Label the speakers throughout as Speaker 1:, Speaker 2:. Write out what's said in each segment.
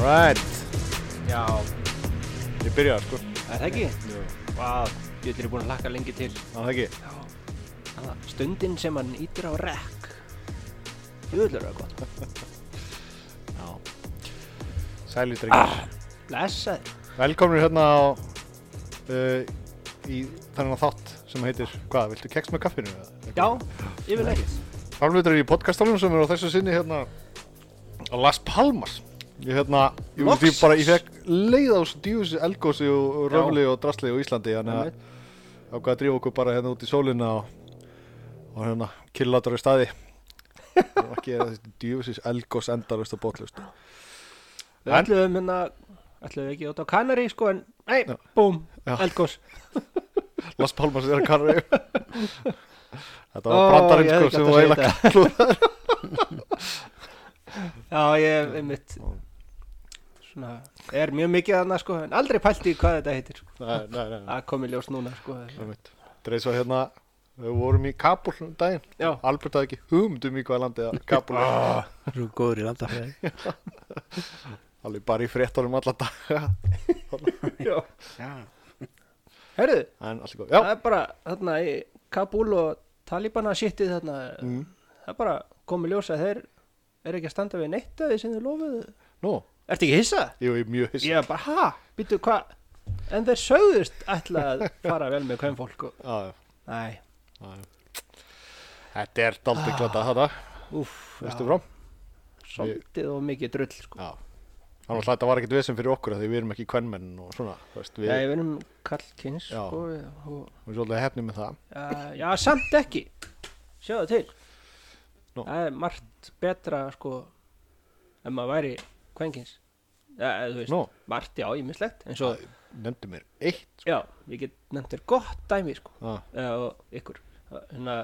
Speaker 1: Alright,
Speaker 2: Já,
Speaker 1: ég byrjaði sko.
Speaker 2: er það ekki?
Speaker 1: Jú.
Speaker 2: Vá, Björn er búin að hlakka lengi til.
Speaker 1: Á það ekki?
Speaker 2: Ah, Stundin sem hann ítir á rekk. Björn er það gott. sko.
Speaker 1: Já. Sælir drengir.
Speaker 2: Blessaður.
Speaker 1: Ah. Velkomnir hérna á, uh, í þennan þátt sem heitir, hvað, viltu keks með kaffinu?
Speaker 2: Já, yfirleitt.
Speaker 1: Framleitur í podcastalunum sem er á þessu sinni hérna á Las Palmas. Ég hérna, ég veist ég
Speaker 2: Loksins.
Speaker 1: bara, ég fekk leið á þessu djúsi, elgósi og og
Speaker 2: Já.
Speaker 1: röfli og drasli á Íslandi, þannig að ákvað að drífa okkur bara hérna út í sólina og, og hérna killatur í staði og ekki eða þessi djöfisins elgós endalust og botlust
Speaker 2: Við
Speaker 1: En-
Speaker 2: ætluðum hérna, ætluðum ekki út á Kanari sko en, nei,
Speaker 1: Já.
Speaker 2: búm,
Speaker 1: Já.
Speaker 2: eldgós.
Speaker 1: Las Palmas er að karri þetta
Speaker 2: Ó,
Speaker 1: var brandarinn
Speaker 2: ég hefði
Speaker 1: sko
Speaker 2: ekki
Speaker 1: sem
Speaker 2: átt að
Speaker 1: var
Speaker 2: segja
Speaker 1: eiginlega kallur
Speaker 2: Já, ég er mitt, svona, er mjög mikið þarna sko en aldrei pælt í hvað þetta heitir. sko.
Speaker 1: nei, nei, nei, nei,
Speaker 2: Það komi ljós núna sko.
Speaker 1: einmitt. þetta er svo hérna við vorum í Kabul um daginn
Speaker 2: Já, Ah.
Speaker 1: Albert hafði ekki hugmyndum í hvaða landið að Kabul er
Speaker 3: Þú erum góður í landafræði
Speaker 1: alveg bara í fréttunum alla daga
Speaker 2: já.
Speaker 3: Já,
Speaker 2: Herðu,
Speaker 1: en allt í góð,
Speaker 2: það
Speaker 1: já,
Speaker 2: er bara þarna í Kabul og Talibana shitið þarna,
Speaker 1: Mm.
Speaker 2: það er bara komið ljós að þeir er ekki að standa við neitt að því sem þeir lofuðu.
Speaker 1: nú,
Speaker 2: Ertu ekki hissa?
Speaker 1: ég er mjög hiss
Speaker 2: Ég er bara, ha, býttu hvað? En þeir sögðust ætla að fara vel með hvern fólk og,
Speaker 1: Já, já,
Speaker 2: næ,
Speaker 1: já, já. Ah. þetta er daldið
Speaker 2: Ah.
Speaker 1: glata þetta,
Speaker 2: úff,
Speaker 1: veistu frá
Speaker 2: svolítið og mikið drull, sko.
Speaker 1: Já, þannig að þetta var ekkert vesen fyrir okkur af því við erum ekki kvennmenn og svona þú veist, við
Speaker 2: Já,
Speaker 1: erum
Speaker 2: við erum kallkins,
Speaker 1: Já.
Speaker 2: sko, og,
Speaker 1: svolítið hefnið með það
Speaker 2: já, já, samt ekki, sjáðu til.
Speaker 1: Nú.
Speaker 2: Það er margt betra, sko, ef maður væri kvenkins. Já, eða þú veist,
Speaker 1: Nú,
Speaker 2: margt, já, ímislegt, en svo,
Speaker 1: sko. nefndi mér eitt Ah.
Speaker 2: já, við getum nefnt þér gott dæmi, sko.
Speaker 1: Já,
Speaker 2: eða og ykkur hérna,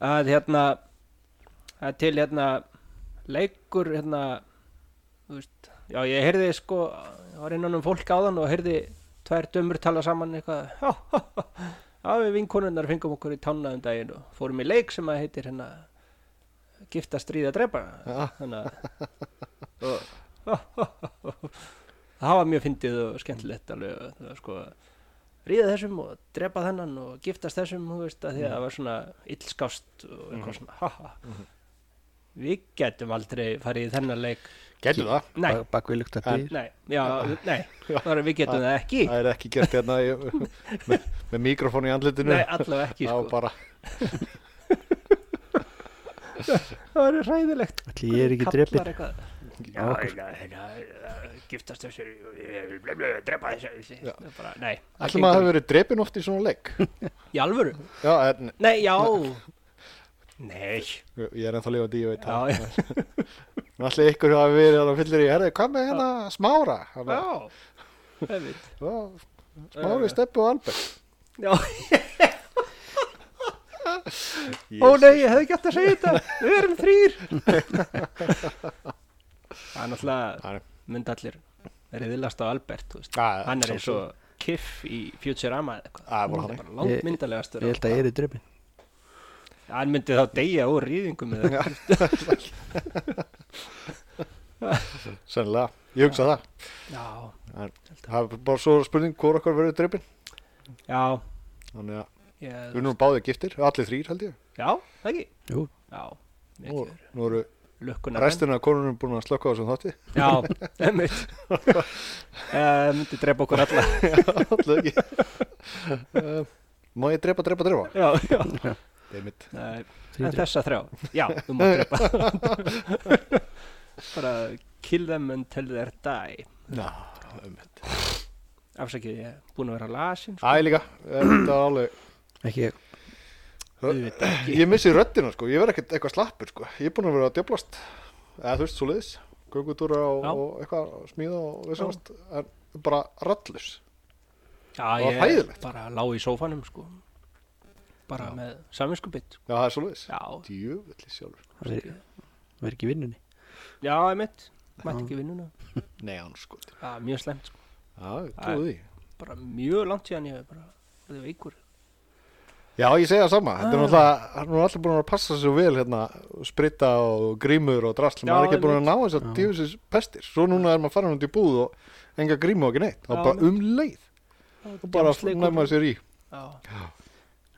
Speaker 2: að hérna að til hérna leikur hérna þú veist, já ég heyrði sko ég var innan um fólk áðan og heyrði tvær dömur tala saman eitthvað já, já, já, já við vinkonunnar fengum okkur í tanna um daginn og fórum í leik sem að heitir hérna gifta stríða drepa
Speaker 1: Já.
Speaker 2: þannig að og, það var mjög fyndið og skemmtilegt alveg það var sko ríða þessum og drepa þennan og giftast þessum, þú veist, að því að það var svona illskást og eitthvað svona, haha. Við getum aldrei farið í þennan leik.
Speaker 1: getur það
Speaker 2: Nei,
Speaker 3: Bak- bak við lukta
Speaker 1: En-
Speaker 3: dyr
Speaker 2: nei, já, nei, bara við getum það ekki.
Speaker 1: Það er ekki gert hérna í- með, með mikrofón í andlitinu
Speaker 2: Nei, allavega ekki,
Speaker 1: Það var
Speaker 2: sko.
Speaker 1: bara,
Speaker 2: Það var ræðilegt.
Speaker 3: Ætli ég er ekki drepin
Speaker 2: eitthvað. Já, hérna, hérna, giftast þessu, blablabla, drepa þessu.
Speaker 1: Já.
Speaker 2: Það er Bara, nei.
Speaker 1: ætlum
Speaker 2: það
Speaker 1: að það hafi
Speaker 2: gengur
Speaker 1: verið drepin oft í svona leik
Speaker 2: ekki. Í alvöru?
Speaker 1: Já, en
Speaker 2: Nei, já. Nei.
Speaker 1: ég er ennþá lifandi, ég veit
Speaker 2: Já,
Speaker 1: það
Speaker 2: já.
Speaker 1: Allir ykkur hafi verið að fyllir í herri, hvað með hérna smára? Hana,
Speaker 2: Já, Eh. það veit.
Speaker 1: já, smári, steppu og albert
Speaker 2: Já Ó nei, ég hefði ekki átt að segja þetta Við erum þrýr Það er náttúrulega
Speaker 1: Það er-
Speaker 2: mynd allir reyðilast á Albert þú veist.
Speaker 1: Já, já,
Speaker 2: Hann er eins
Speaker 1: sjálfsögðu.
Speaker 2: og kiff í Futurama eða eitthvað
Speaker 1: Já, bara
Speaker 2: Hann er
Speaker 1: þannig.
Speaker 2: bara
Speaker 3: Ég-
Speaker 2: langmyndalegast
Speaker 3: Ég held að ég er í drefin
Speaker 2: Hann myndi þá deyja úr rýðingum eða eitthvað.
Speaker 1: Sennilega, ég hugsa það
Speaker 2: Já,
Speaker 1: En það er bara svo spurning hvort okkar verður drefin
Speaker 2: já
Speaker 1: Þannig að við
Speaker 2: ég,
Speaker 1: erum báðið giftir, allir þrýr held ég
Speaker 2: Já, það ekki
Speaker 3: Jú.
Speaker 2: Já,
Speaker 1: Nú,
Speaker 2: mikið
Speaker 1: nú eru
Speaker 2: lukkuna
Speaker 1: restina af konunum búin að slökka á þessum þátti
Speaker 2: Já, emmitt Það myndi drepa okkur alla
Speaker 1: Allir ekki Eh, Má ég drepa, drepa, drepa?
Speaker 2: Já, já
Speaker 1: Það er mitt
Speaker 2: Nei,
Speaker 3: Þrír
Speaker 2: en
Speaker 3: drep.
Speaker 2: þessa þrjá já, þú má drepa bara kill them until they die
Speaker 1: Ná, það er mitt
Speaker 2: afsakið ég er búin að vera sko. lasin
Speaker 1: Æ líka, eh, þetta er alveg
Speaker 3: Ekki ég
Speaker 2: auðvitað ekki
Speaker 1: Ég missi röddina sko, ég verð ekkert eitthvað slappur sko Ég er búin að vera að djöblast Eða þú veist, svo liðis Göngutúra og,
Speaker 2: Já.
Speaker 1: og eitthvað smíða og vissamast En bara rallus
Speaker 2: já,
Speaker 1: var
Speaker 2: ég
Speaker 1: hræðilegt.
Speaker 2: bara lá í sófanum sko bara með samvinskubitt
Speaker 1: Já, það er svo liðis
Speaker 2: já,
Speaker 1: Djöfulli sjálfur
Speaker 3: Verð verð ekki í vinnunni
Speaker 2: já, emitt mætti ekki í vinnuna
Speaker 1: Nei, hann sko
Speaker 2: já, mjög slemt sko
Speaker 1: Já, ég trúi því
Speaker 2: bara mjög langt síðan ég bara, það veikur
Speaker 1: Já, ég segja það sama. Þetta er náttúrulega, hann er alltaf búin að passa sig svo vel hérna, spritta og grímur og drasl,
Speaker 2: Já,
Speaker 1: maður er ekki búin að
Speaker 2: einmitt.
Speaker 1: ná þess að djöfisins pestir. Svo núna er maður farin út í búð og enga grímu og ekki neitt. Það
Speaker 2: Já,
Speaker 1: er bara um leið. Og bara
Speaker 2: Djammsleikur.
Speaker 1: næma sér í.
Speaker 2: Já,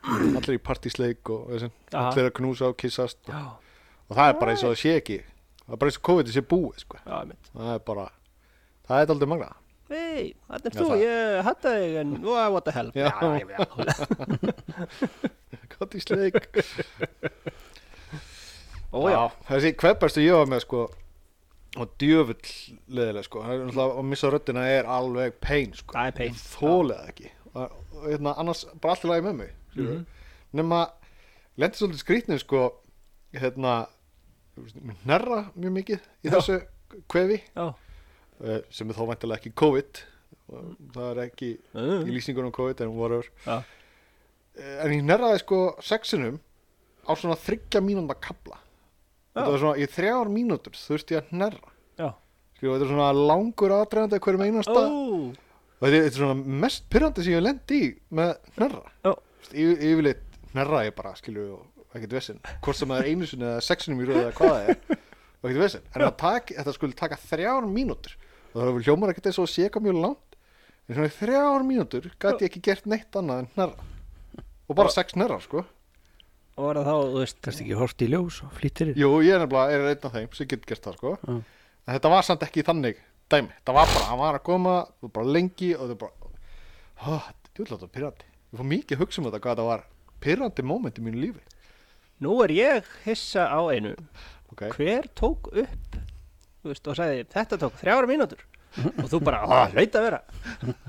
Speaker 1: Allir í partísleik og þessi.
Speaker 2: Aha.
Speaker 1: Allir að knúsa og kissast.
Speaker 2: já,
Speaker 1: Og það er bara eins og það sé ekki. Það er bara eins og COVID sé búið, sko.
Speaker 2: já, mitt.
Speaker 1: Það er bara, það er aldrei magnað.
Speaker 2: Hei, hann er
Speaker 1: Já,
Speaker 2: þú,
Speaker 1: það-
Speaker 2: ég hætta þig en wow, what the hell.
Speaker 1: Já.
Speaker 2: já, já.
Speaker 1: Partísleik.
Speaker 2: Ó já,
Speaker 1: Þessi kveppastu ég var með sko og djöfull leðilega sko Það er náttúrulega að missa röddina er alveg pain sko
Speaker 2: það er pein.
Speaker 1: þólega ekki og, og hérna, annars bara allt í lagi með mig mm -hmm.
Speaker 2: Mhm.
Speaker 1: nema lendi svolítið skrýtnum sko hérna nærra mjög mikið í
Speaker 2: Já.
Speaker 1: þessu kvefi
Speaker 2: Já,
Speaker 1: eh, sem er þá væntilega ekki COVID og það er ekki
Speaker 2: Mm.
Speaker 1: í lýsingunum COVID en whatever
Speaker 2: já,
Speaker 1: Eh, en ég nærraði sko sexinum á svona þryggja mínúnda kabla
Speaker 2: Já.
Speaker 1: þetta var svona í þrjár mínútur þurfti ég að nærra
Speaker 2: já.
Speaker 1: Skilur, þetta er svona langur aðdreðandi að hverjum einasta
Speaker 2: Ó,
Speaker 1: og þetta er, þetta er svona mest pyrrandi sem ég lendi í með hnerra
Speaker 2: Já.
Speaker 1: Þú veist, yfir- yfirleitt hnerra ég bara skilju og ekkert vesinn hvort sem það er einu sinni eða sexinum í röðu eða hvað það er og ekkert vesinn en það tak, þetta skulle taka þrjár mínútur og það er hljómar ekkert eins og sé eitthvað mjög langt en svona í þrjár mínútur gæti ég ekki gert neitt annað en hnerra og bara sex hnerra sko
Speaker 2: og var það þá, þú veist,
Speaker 3: Kannski ekki horft í ljós og flýttir
Speaker 1: Jú, ég er nefnilega er einn af þeim sem getur gert það sko
Speaker 3: Já.
Speaker 1: En þetta var samt ekki þannig dæmi Það var bara, hann var að koma, það var bara lengi og það var bara Há, þetta er djúðlega pyrrandi Ég fór mikið að hugsa um þetta hvað þetta var pyrrandi moment í mínu lífi
Speaker 2: nú er ég hissa á einu.
Speaker 1: Ok,
Speaker 2: Hver tók upp, þú veist, og sagði, þetta tók þrjára mínútur. og þú bara, að, hlaut að vera.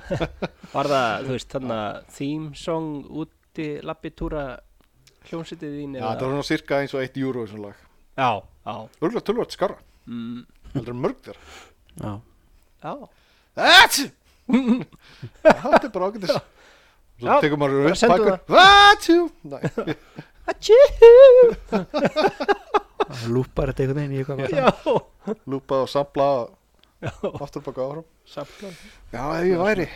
Speaker 2: var það, þú veist, þannig að theme song úti lappitúra hljómsitið þín?
Speaker 1: Já,
Speaker 2: eða-
Speaker 1: þetta var nú cirka eins og eitt júru og svona lag
Speaker 2: Já, já.
Speaker 1: Örgulega tölvart skarra,
Speaker 2: Mm,
Speaker 1: heldur en mörg þér
Speaker 3: Já,
Speaker 2: já.
Speaker 1: Ætj! Þetta er bara ágætis Svo
Speaker 2: Já,
Speaker 1: tekur maður
Speaker 2: bara
Speaker 1: upp
Speaker 2: sendu
Speaker 1: bækur Ætj! Nei,
Speaker 2: Atjú!
Speaker 3: það lúpar þetta einhvern veginn í eitthvað
Speaker 2: Já,
Speaker 1: lúpað og sampla og
Speaker 2: já.
Speaker 1: aftur baka áfram
Speaker 2: Samtlan.
Speaker 1: Já, ef ég væri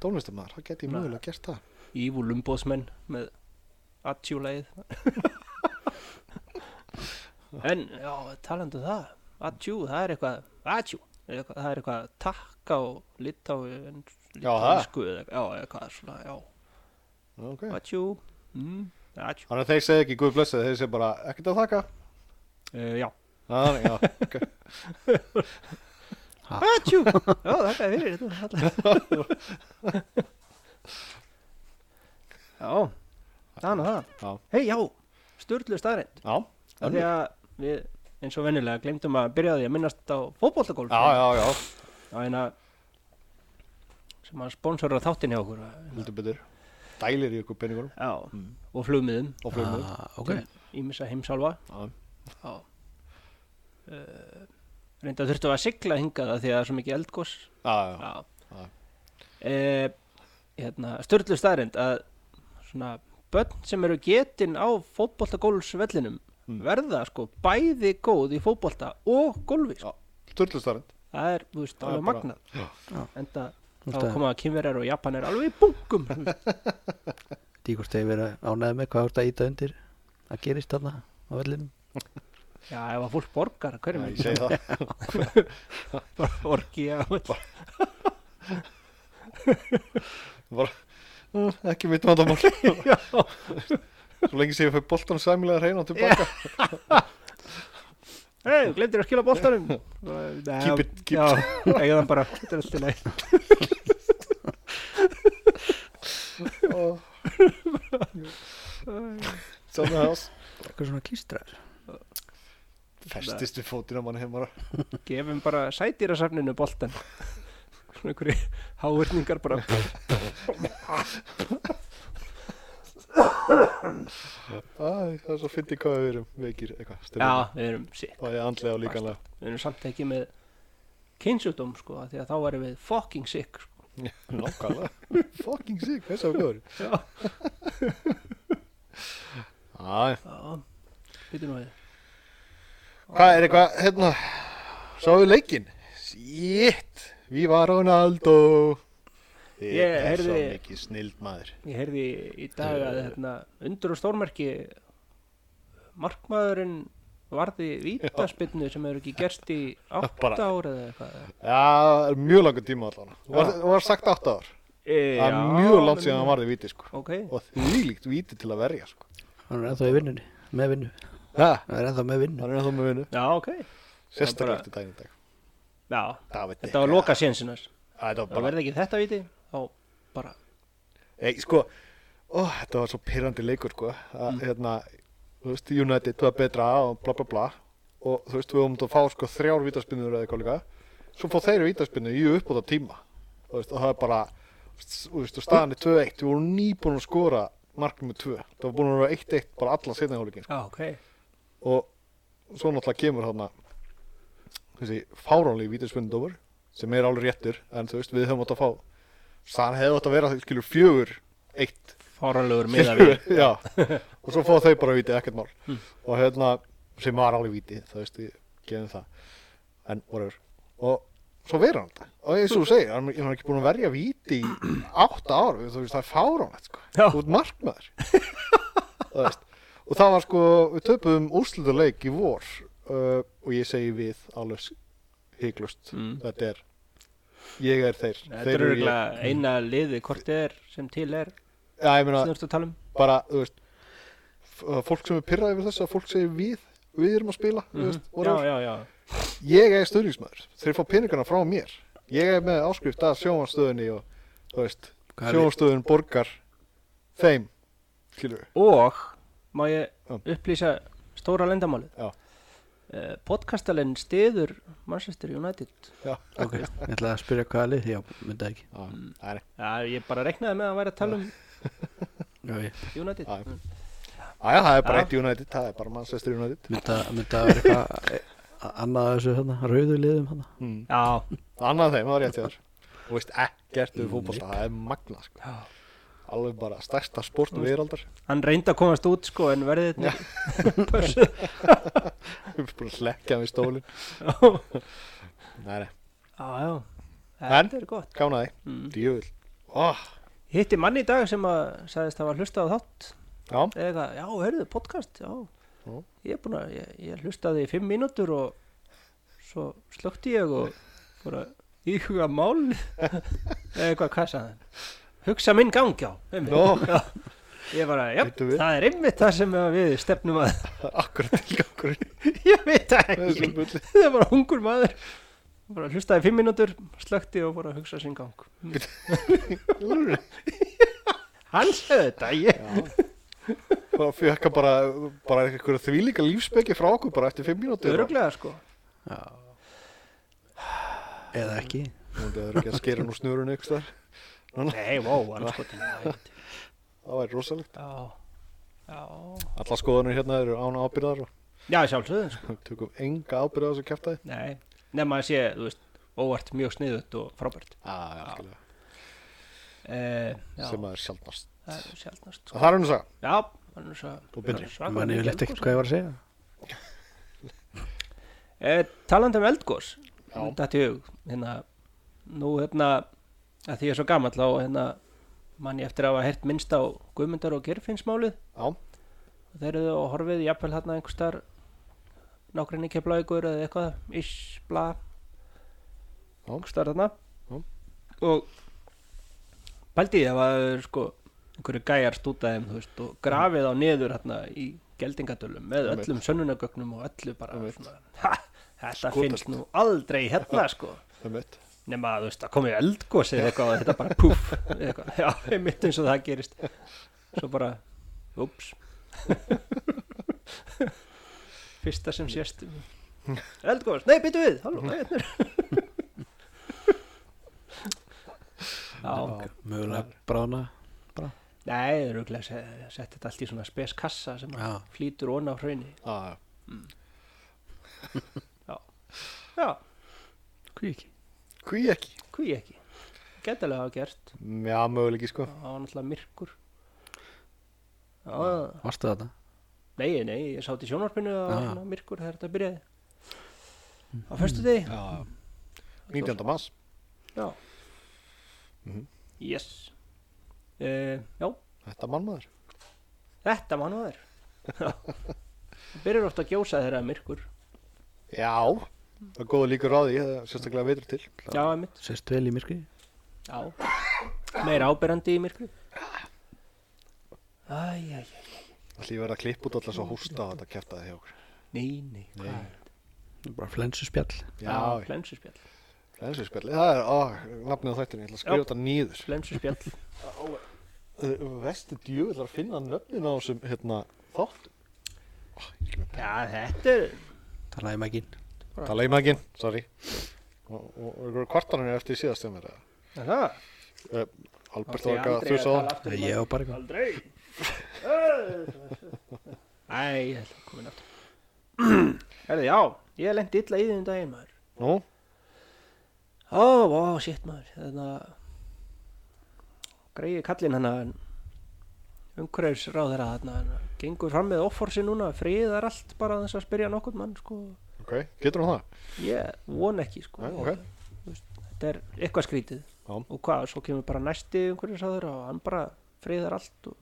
Speaker 1: tónlistamæður, þá geti ég mögulega gert það
Speaker 2: Ívul umbóðsmenn með Atjú-lægið En, já, talandi um það Atjú, það er eitthvað Atjú, er eitthvað- það er eitthvað takka og litá
Speaker 1: Já,
Speaker 2: Já, eitthvað svona, já
Speaker 1: Ok
Speaker 2: Atjú, mm, atjú
Speaker 1: Þannig að þeir segja ekki Guð blessið, þeir segja bara ekkert að þakka.
Speaker 2: uh, Já,
Speaker 1: Þannig, já, ok.
Speaker 2: atjú Já, þakka þér fyrir þetta var fallegt. Já, þannig að það
Speaker 1: Já,
Speaker 2: Hei, já, störtlu staðrind
Speaker 1: já,
Speaker 2: Af því að við eins og venjulega glemdum að byrja á því að minnast á fótboltagólf
Speaker 1: já, já, já,
Speaker 2: á eina sem að sponsora þáttin hjá okkur
Speaker 1: heldur betur. Dælir í ykkur peningunum
Speaker 2: já, og flugmiðum
Speaker 1: og flugum.
Speaker 3: Ah, ok
Speaker 2: ímissa heimsálfa
Speaker 1: Já.
Speaker 2: já. Uh, reynda þurftu að sigla hingað af því að það er svo mikið eldgós
Speaker 1: Já, já,
Speaker 2: Já.
Speaker 1: Já.
Speaker 2: Eh, hérna, Störlu staðrind að svona börn sem eru getin á fótboltagólfsvellinum
Speaker 1: Mm.
Speaker 2: verða sko bæði góð í fótbolta og gólfi sko.
Speaker 1: Já. sturðlustarinn.
Speaker 2: það er, þú veist,
Speaker 1: Það er
Speaker 2: alveg
Speaker 1: bara-
Speaker 2: magnað
Speaker 1: Já.
Speaker 2: en það þá
Speaker 3: Þú veist að-
Speaker 2: koma að kynverjar og japanir alveg í bunkum
Speaker 3: Díkvort hefur verið ánæðið með hvað þú ert að íta undir að gerist þarna á vellinum
Speaker 2: já, ef að fólk borgar, hverjum
Speaker 1: Ég segi það.
Speaker 2: bara orgi já,
Speaker 1: Bara, mm, ekki mitt vandamál. Svo
Speaker 2: já,
Speaker 1: lengi sem ég fyrir boltan sæmilega reyna og tilbaka.
Speaker 2: hei, glemdir að skila boltanum Nei,
Speaker 1: Keep it, keep
Speaker 2: já, eiga þann bara þetta er allt í lagi.
Speaker 1: Yeah. Sannig að það
Speaker 3: Eitthvað svona klístrar
Speaker 1: festist við fótina mann heimara.
Speaker 2: gefum bara sætýrasafninu boltan svona einhverju háurningar bara
Speaker 1: Æ, það er svo fyndi hvað við erum veikir eitthvað.
Speaker 2: já,
Speaker 1: styrjum.
Speaker 2: við erum sitt
Speaker 1: Og ég andlega og líkanlega.
Speaker 2: við erum samt ekki með kynsjúdóm sko, af því að þá erum við fucking sick sko.
Speaker 1: Nákvæmlega Fucking sick, þess að við góður
Speaker 2: já,
Speaker 1: Æ,
Speaker 2: já, býtum nú við
Speaker 1: Hvað er eitthvað, hérna Sáðu leikinn? Shit, Viva Ronaldo Þið
Speaker 2: Ég
Speaker 1: er svo
Speaker 2: heyrði-
Speaker 1: mikið snild maður
Speaker 2: Ég heyrði í dag að hérna, undur og stórmerki markmaðurinn varði vítaspinnu sem hefur ekki gerst í
Speaker 1: Bara-
Speaker 2: 8 ár eða eitthvað
Speaker 1: Já, mjög langur tíma allan og var, og var sagt 8 ár
Speaker 2: e,
Speaker 1: Það er mjög langt síðan hann varði víti sko
Speaker 2: Ok,
Speaker 1: og þvílíkt víti til að verja sko
Speaker 3: Hann er ennþá í vinnunni, með vinnu
Speaker 1: Ha,
Speaker 3: Hann er ennþá með vinnu
Speaker 1: Hann er ennþá með vinnu
Speaker 2: já ok
Speaker 1: Sérstaklega
Speaker 2: Bara-
Speaker 1: eftir daginn í dag
Speaker 2: já,
Speaker 1: David
Speaker 2: Þetta var loka sénsinar
Speaker 1: Þetta var
Speaker 2: Það
Speaker 1: bara
Speaker 2: verði ekki þetta viti þá bara
Speaker 1: Ei, sko, ó, þetta var svo pyrrandi leikur sko, að, hérna, þú veist, United var betra og bla bla bla og þú veist, við vorum að fá sko þrjár vítaspinnur eða eitthvað líka, svo fá þeir vítaspinnu í uppbúta tíma, þú veist, og það er bara, þú veist, og staðan er 2-1, við vorum nýbúin að skora marknum með 2, það var búin að vera 1-1 bara alla setna hálfleikin,
Speaker 2: Já ok
Speaker 1: sko, og svo náttúrulega kemur þarna, þessi fáránlegi vítaspinnudómur, sem er alveg réttur, en þú veist, við höfum átt að fá, staðan hefði átt að vera, skilur, fjögur, eitt
Speaker 2: Fáranlegur miða við
Speaker 1: já, og svo fá þau bara viti ekkert mál
Speaker 2: Hmm.
Speaker 1: og hérna, sem var alveg viti það veist, ég gefum það en whatever, og svo verður hann þetta og eins og þú segir, hann hann er ekki búin að verja viti í átta ár, þú veist, það er fáránlegt sko,
Speaker 2: Já.
Speaker 1: út markmaður þú veist, og það var sko við töpuðum úrslutaleik í vor uh, og ég segi við alveg hygglust,
Speaker 2: Mm.
Speaker 1: þetta er ég er þeir,
Speaker 2: Þetta
Speaker 1: þeir
Speaker 2: er
Speaker 1: ég já,
Speaker 2: örgulega eina liði hvort er sem til er
Speaker 1: ég meina,
Speaker 2: sem þú ert að tala um
Speaker 1: bara, þú veist f- að fólk sem er pyrrað yfir þessu að fólk segir við við erum að spila, þú veist,
Speaker 2: Mhm. Já,
Speaker 1: whatever.
Speaker 2: já, já
Speaker 1: ég er stöðningsmæður, þeir fá peningana frá mér ég er með áskrift að sjónvanstöðinni og, þú veist,
Speaker 3: Hvað er-
Speaker 1: sjónvanstöðin borgar þeim, skilur við
Speaker 2: Og má ég
Speaker 1: Já.
Speaker 2: upplýsa stóra lendamálið?
Speaker 1: Já.
Speaker 2: Eh, Podcastalinn stiður Manchester United.
Speaker 1: já,
Speaker 3: Ok, ég ætla að spyrja hvaða lið Já, myndi það ekki
Speaker 1: já, það er
Speaker 2: Já, ég bara reknaði með að væri að tala um
Speaker 3: Já, ég-
Speaker 2: United.
Speaker 1: Já. Aja, það er bara
Speaker 2: Já.
Speaker 1: eitt United, það er bara Manchester United
Speaker 3: Myndi það- myndi það vera eitthvað e, a- annað af þessu hana, rauðu liðum hana
Speaker 1: mm.
Speaker 2: Já,
Speaker 1: annað þeim, það var rétt hjá þér þú veist, ekkert við fótbolta, það er magna sko.
Speaker 2: Já.
Speaker 1: alveg bara stærsta sport veraldar
Speaker 2: hann reyndi að komast út sko en verði þetta pössuð.
Speaker 1: við erum búin að leggja við stólin
Speaker 2: Já,
Speaker 1: Nei, nei,
Speaker 2: já,
Speaker 1: En?
Speaker 2: þetta er gott.
Speaker 1: kánaði,
Speaker 2: Mm.
Speaker 1: djöfull oh,
Speaker 2: Ég Hitti manni í dag sem að sagðist að var hlustað á þátt
Speaker 1: já,
Speaker 2: eða eitthvað, já, heyrðu, podcast, já.
Speaker 1: Já.
Speaker 2: Ég er búin að, ég, ég hlustaði í fimm mínútur og svo slökti ég og fór að íhuga mál eða eitthvað, hvað sagði hann? Hugsa minn gang, já. einmitt.
Speaker 1: Nó.
Speaker 2: já. Ég bara, já,
Speaker 1: Veitum við?
Speaker 2: það er einmitt það sem að við stefnum að,
Speaker 1: akkurat tilgangurinn
Speaker 2: ég veit það
Speaker 1: með þessu
Speaker 2: ekki,
Speaker 1: bulli
Speaker 2: það er bara hungur maður. Bara hlustaði í fimm mínútur, slökti og fór að hugsa sinn gang. Hann segði þetta, ég.
Speaker 1: og fjökk bara, bara einhverja þvílíka lífsbeki frá okkur bara eftir fimm mínútur
Speaker 2: Öruglega, sko.
Speaker 3: Já Eða ekki
Speaker 1: það er ekki að skera nú snurun ykkur þar
Speaker 2: Nei, wow, hann skoði
Speaker 1: það væri rosalegt
Speaker 2: Já, já.
Speaker 1: alla skoðanir hérna eru án ábyrðar og
Speaker 2: Já, sjálfsögðin sko.
Speaker 1: við tökum enga ábyrða þessu kæftæði
Speaker 2: Nei, nema að sé, þú veist, óvart mjög sniðut og frábært
Speaker 1: algjörlega.
Speaker 2: eh, Já,
Speaker 1: sem að er sjaldnast
Speaker 2: það er sjálfnast sko.
Speaker 1: það er hann að
Speaker 2: Já, hann er svo sko.
Speaker 1: Og betri.
Speaker 3: Man er leitt ekkert hvað ég var að
Speaker 1: sko.
Speaker 3: segja
Speaker 2: eh, Talandi um eldgós
Speaker 1: Já.
Speaker 2: Þetta í hug Hérna, nú hérna að Því ég er svo gamall á hérna mann ég eftir að hafa heyrt minnst á Guðmundar og Geirfinnsmálið
Speaker 1: já,
Speaker 2: og þeir eru og horfið jafnvel hérna einhver starf nákvæmni keflaugur eða eitthvað ish, bla
Speaker 1: Já.
Speaker 2: einhver starf þarna
Speaker 1: Já.
Speaker 2: og pældi ég ef að það eru sko einhverju gæjar stútaðum þú veist og grafið á niður hérna í geldingadölum með
Speaker 1: Einmitt.
Speaker 2: öllum sönnunagögnum og öllu bara
Speaker 1: Einmitt.
Speaker 2: svona, ha, þetta
Speaker 1: Skotelt.
Speaker 2: finnst nú aldrei hérna sko
Speaker 1: það er um mitt
Speaker 2: nema að þú veist, það komið eldgósið eða eitthvað og þetta bara púf eða eitthvað, já, einmitt eins og það gerist svo bara, ups fyrsta sem sést eldgós, nei, byttu við halló, nei, hérna er já,
Speaker 3: Mögulega brána
Speaker 2: nei, það eru glæð að setja þetta allt í svona speskassa sem
Speaker 3: Já.
Speaker 2: flýtur ón á hraunni
Speaker 1: ah,
Speaker 2: já,
Speaker 3: Hví ekki
Speaker 1: hví ekki
Speaker 2: hví ekki getalega hafa gert,
Speaker 1: Mm, já, möguleiki sko
Speaker 2: það var náttúrulega myrkur já,
Speaker 3: Varstu þarna?
Speaker 2: Nei, nei, ég sátt í sjónvarpinu að
Speaker 3: Ah.
Speaker 2: ah. Mhm. myrkur þegar þetta byrjaði á föstu degi
Speaker 1: 19. mass
Speaker 2: já. yes uh, já,
Speaker 1: Þetta mannmaður
Speaker 2: þetta mann og þær byrjar ofta að gjósa þeirra myrkur
Speaker 1: Já, það er góða líkur á því það er Sérstaklega veitur til
Speaker 2: já, einmitt,
Speaker 3: Sest vel í myrkri
Speaker 2: já meira áberandi í myrkur æj, æj,
Speaker 1: Allir verða að klippa út alltaf svo hósta á þetta kæftaði hjá okkur
Speaker 2: nei, nei, hvað
Speaker 1: Nei.
Speaker 2: er þetta?
Speaker 3: Bara flensuspjall
Speaker 2: já,
Speaker 1: Já,
Speaker 2: flensurspjall
Speaker 1: flensuspjalli Það er, ó, nafnið á þættinu, ég ætla að skrifa
Speaker 2: Já.
Speaker 1: þetta nýður
Speaker 2: flensurspjall,
Speaker 1: Uh, Vesti djöfull að finna nöfnin á þessum hérna, þátt
Speaker 2: já, þetta er
Speaker 3: Talaði maginn
Speaker 1: Tala í maginn, sorry Og, og, og kvartanum er eftir síðast sem er það.
Speaker 2: Er það
Speaker 1: Albert
Speaker 2: Átti
Speaker 1: var ekki að
Speaker 2: aldrei
Speaker 1: þjósa á
Speaker 2: tala
Speaker 1: hann.
Speaker 2: aftur um
Speaker 3: Ég
Speaker 2: það.
Speaker 3: var bara eitthvað
Speaker 2: Aldrei Æ, ég ætla að koma inn aftur Herði, já, ég lendi illa í því um daginn maður
Speaker 1: Nú,
Speaker 2: Ó, ó, shit maður Þannig að Greiði kallinn hérna, hann að umhverfisráð þeirra þarna hann hérna, gengur fram með offorsi núna, friðar allt bara án þess að spyrja nokkurn mann sko.
Speaker 1: ok, getur hún það?
Speaker 2: ég von ekki sko.
Speaker 1: Nei, ok.
Speaker 2: Þú veist, þetta er eitthvað skrítið
Speaker 1: Já.
Speaker 2: og hvað, svo kemur bara næsti umhverfisráð þeirra og hann bara friðar allt og...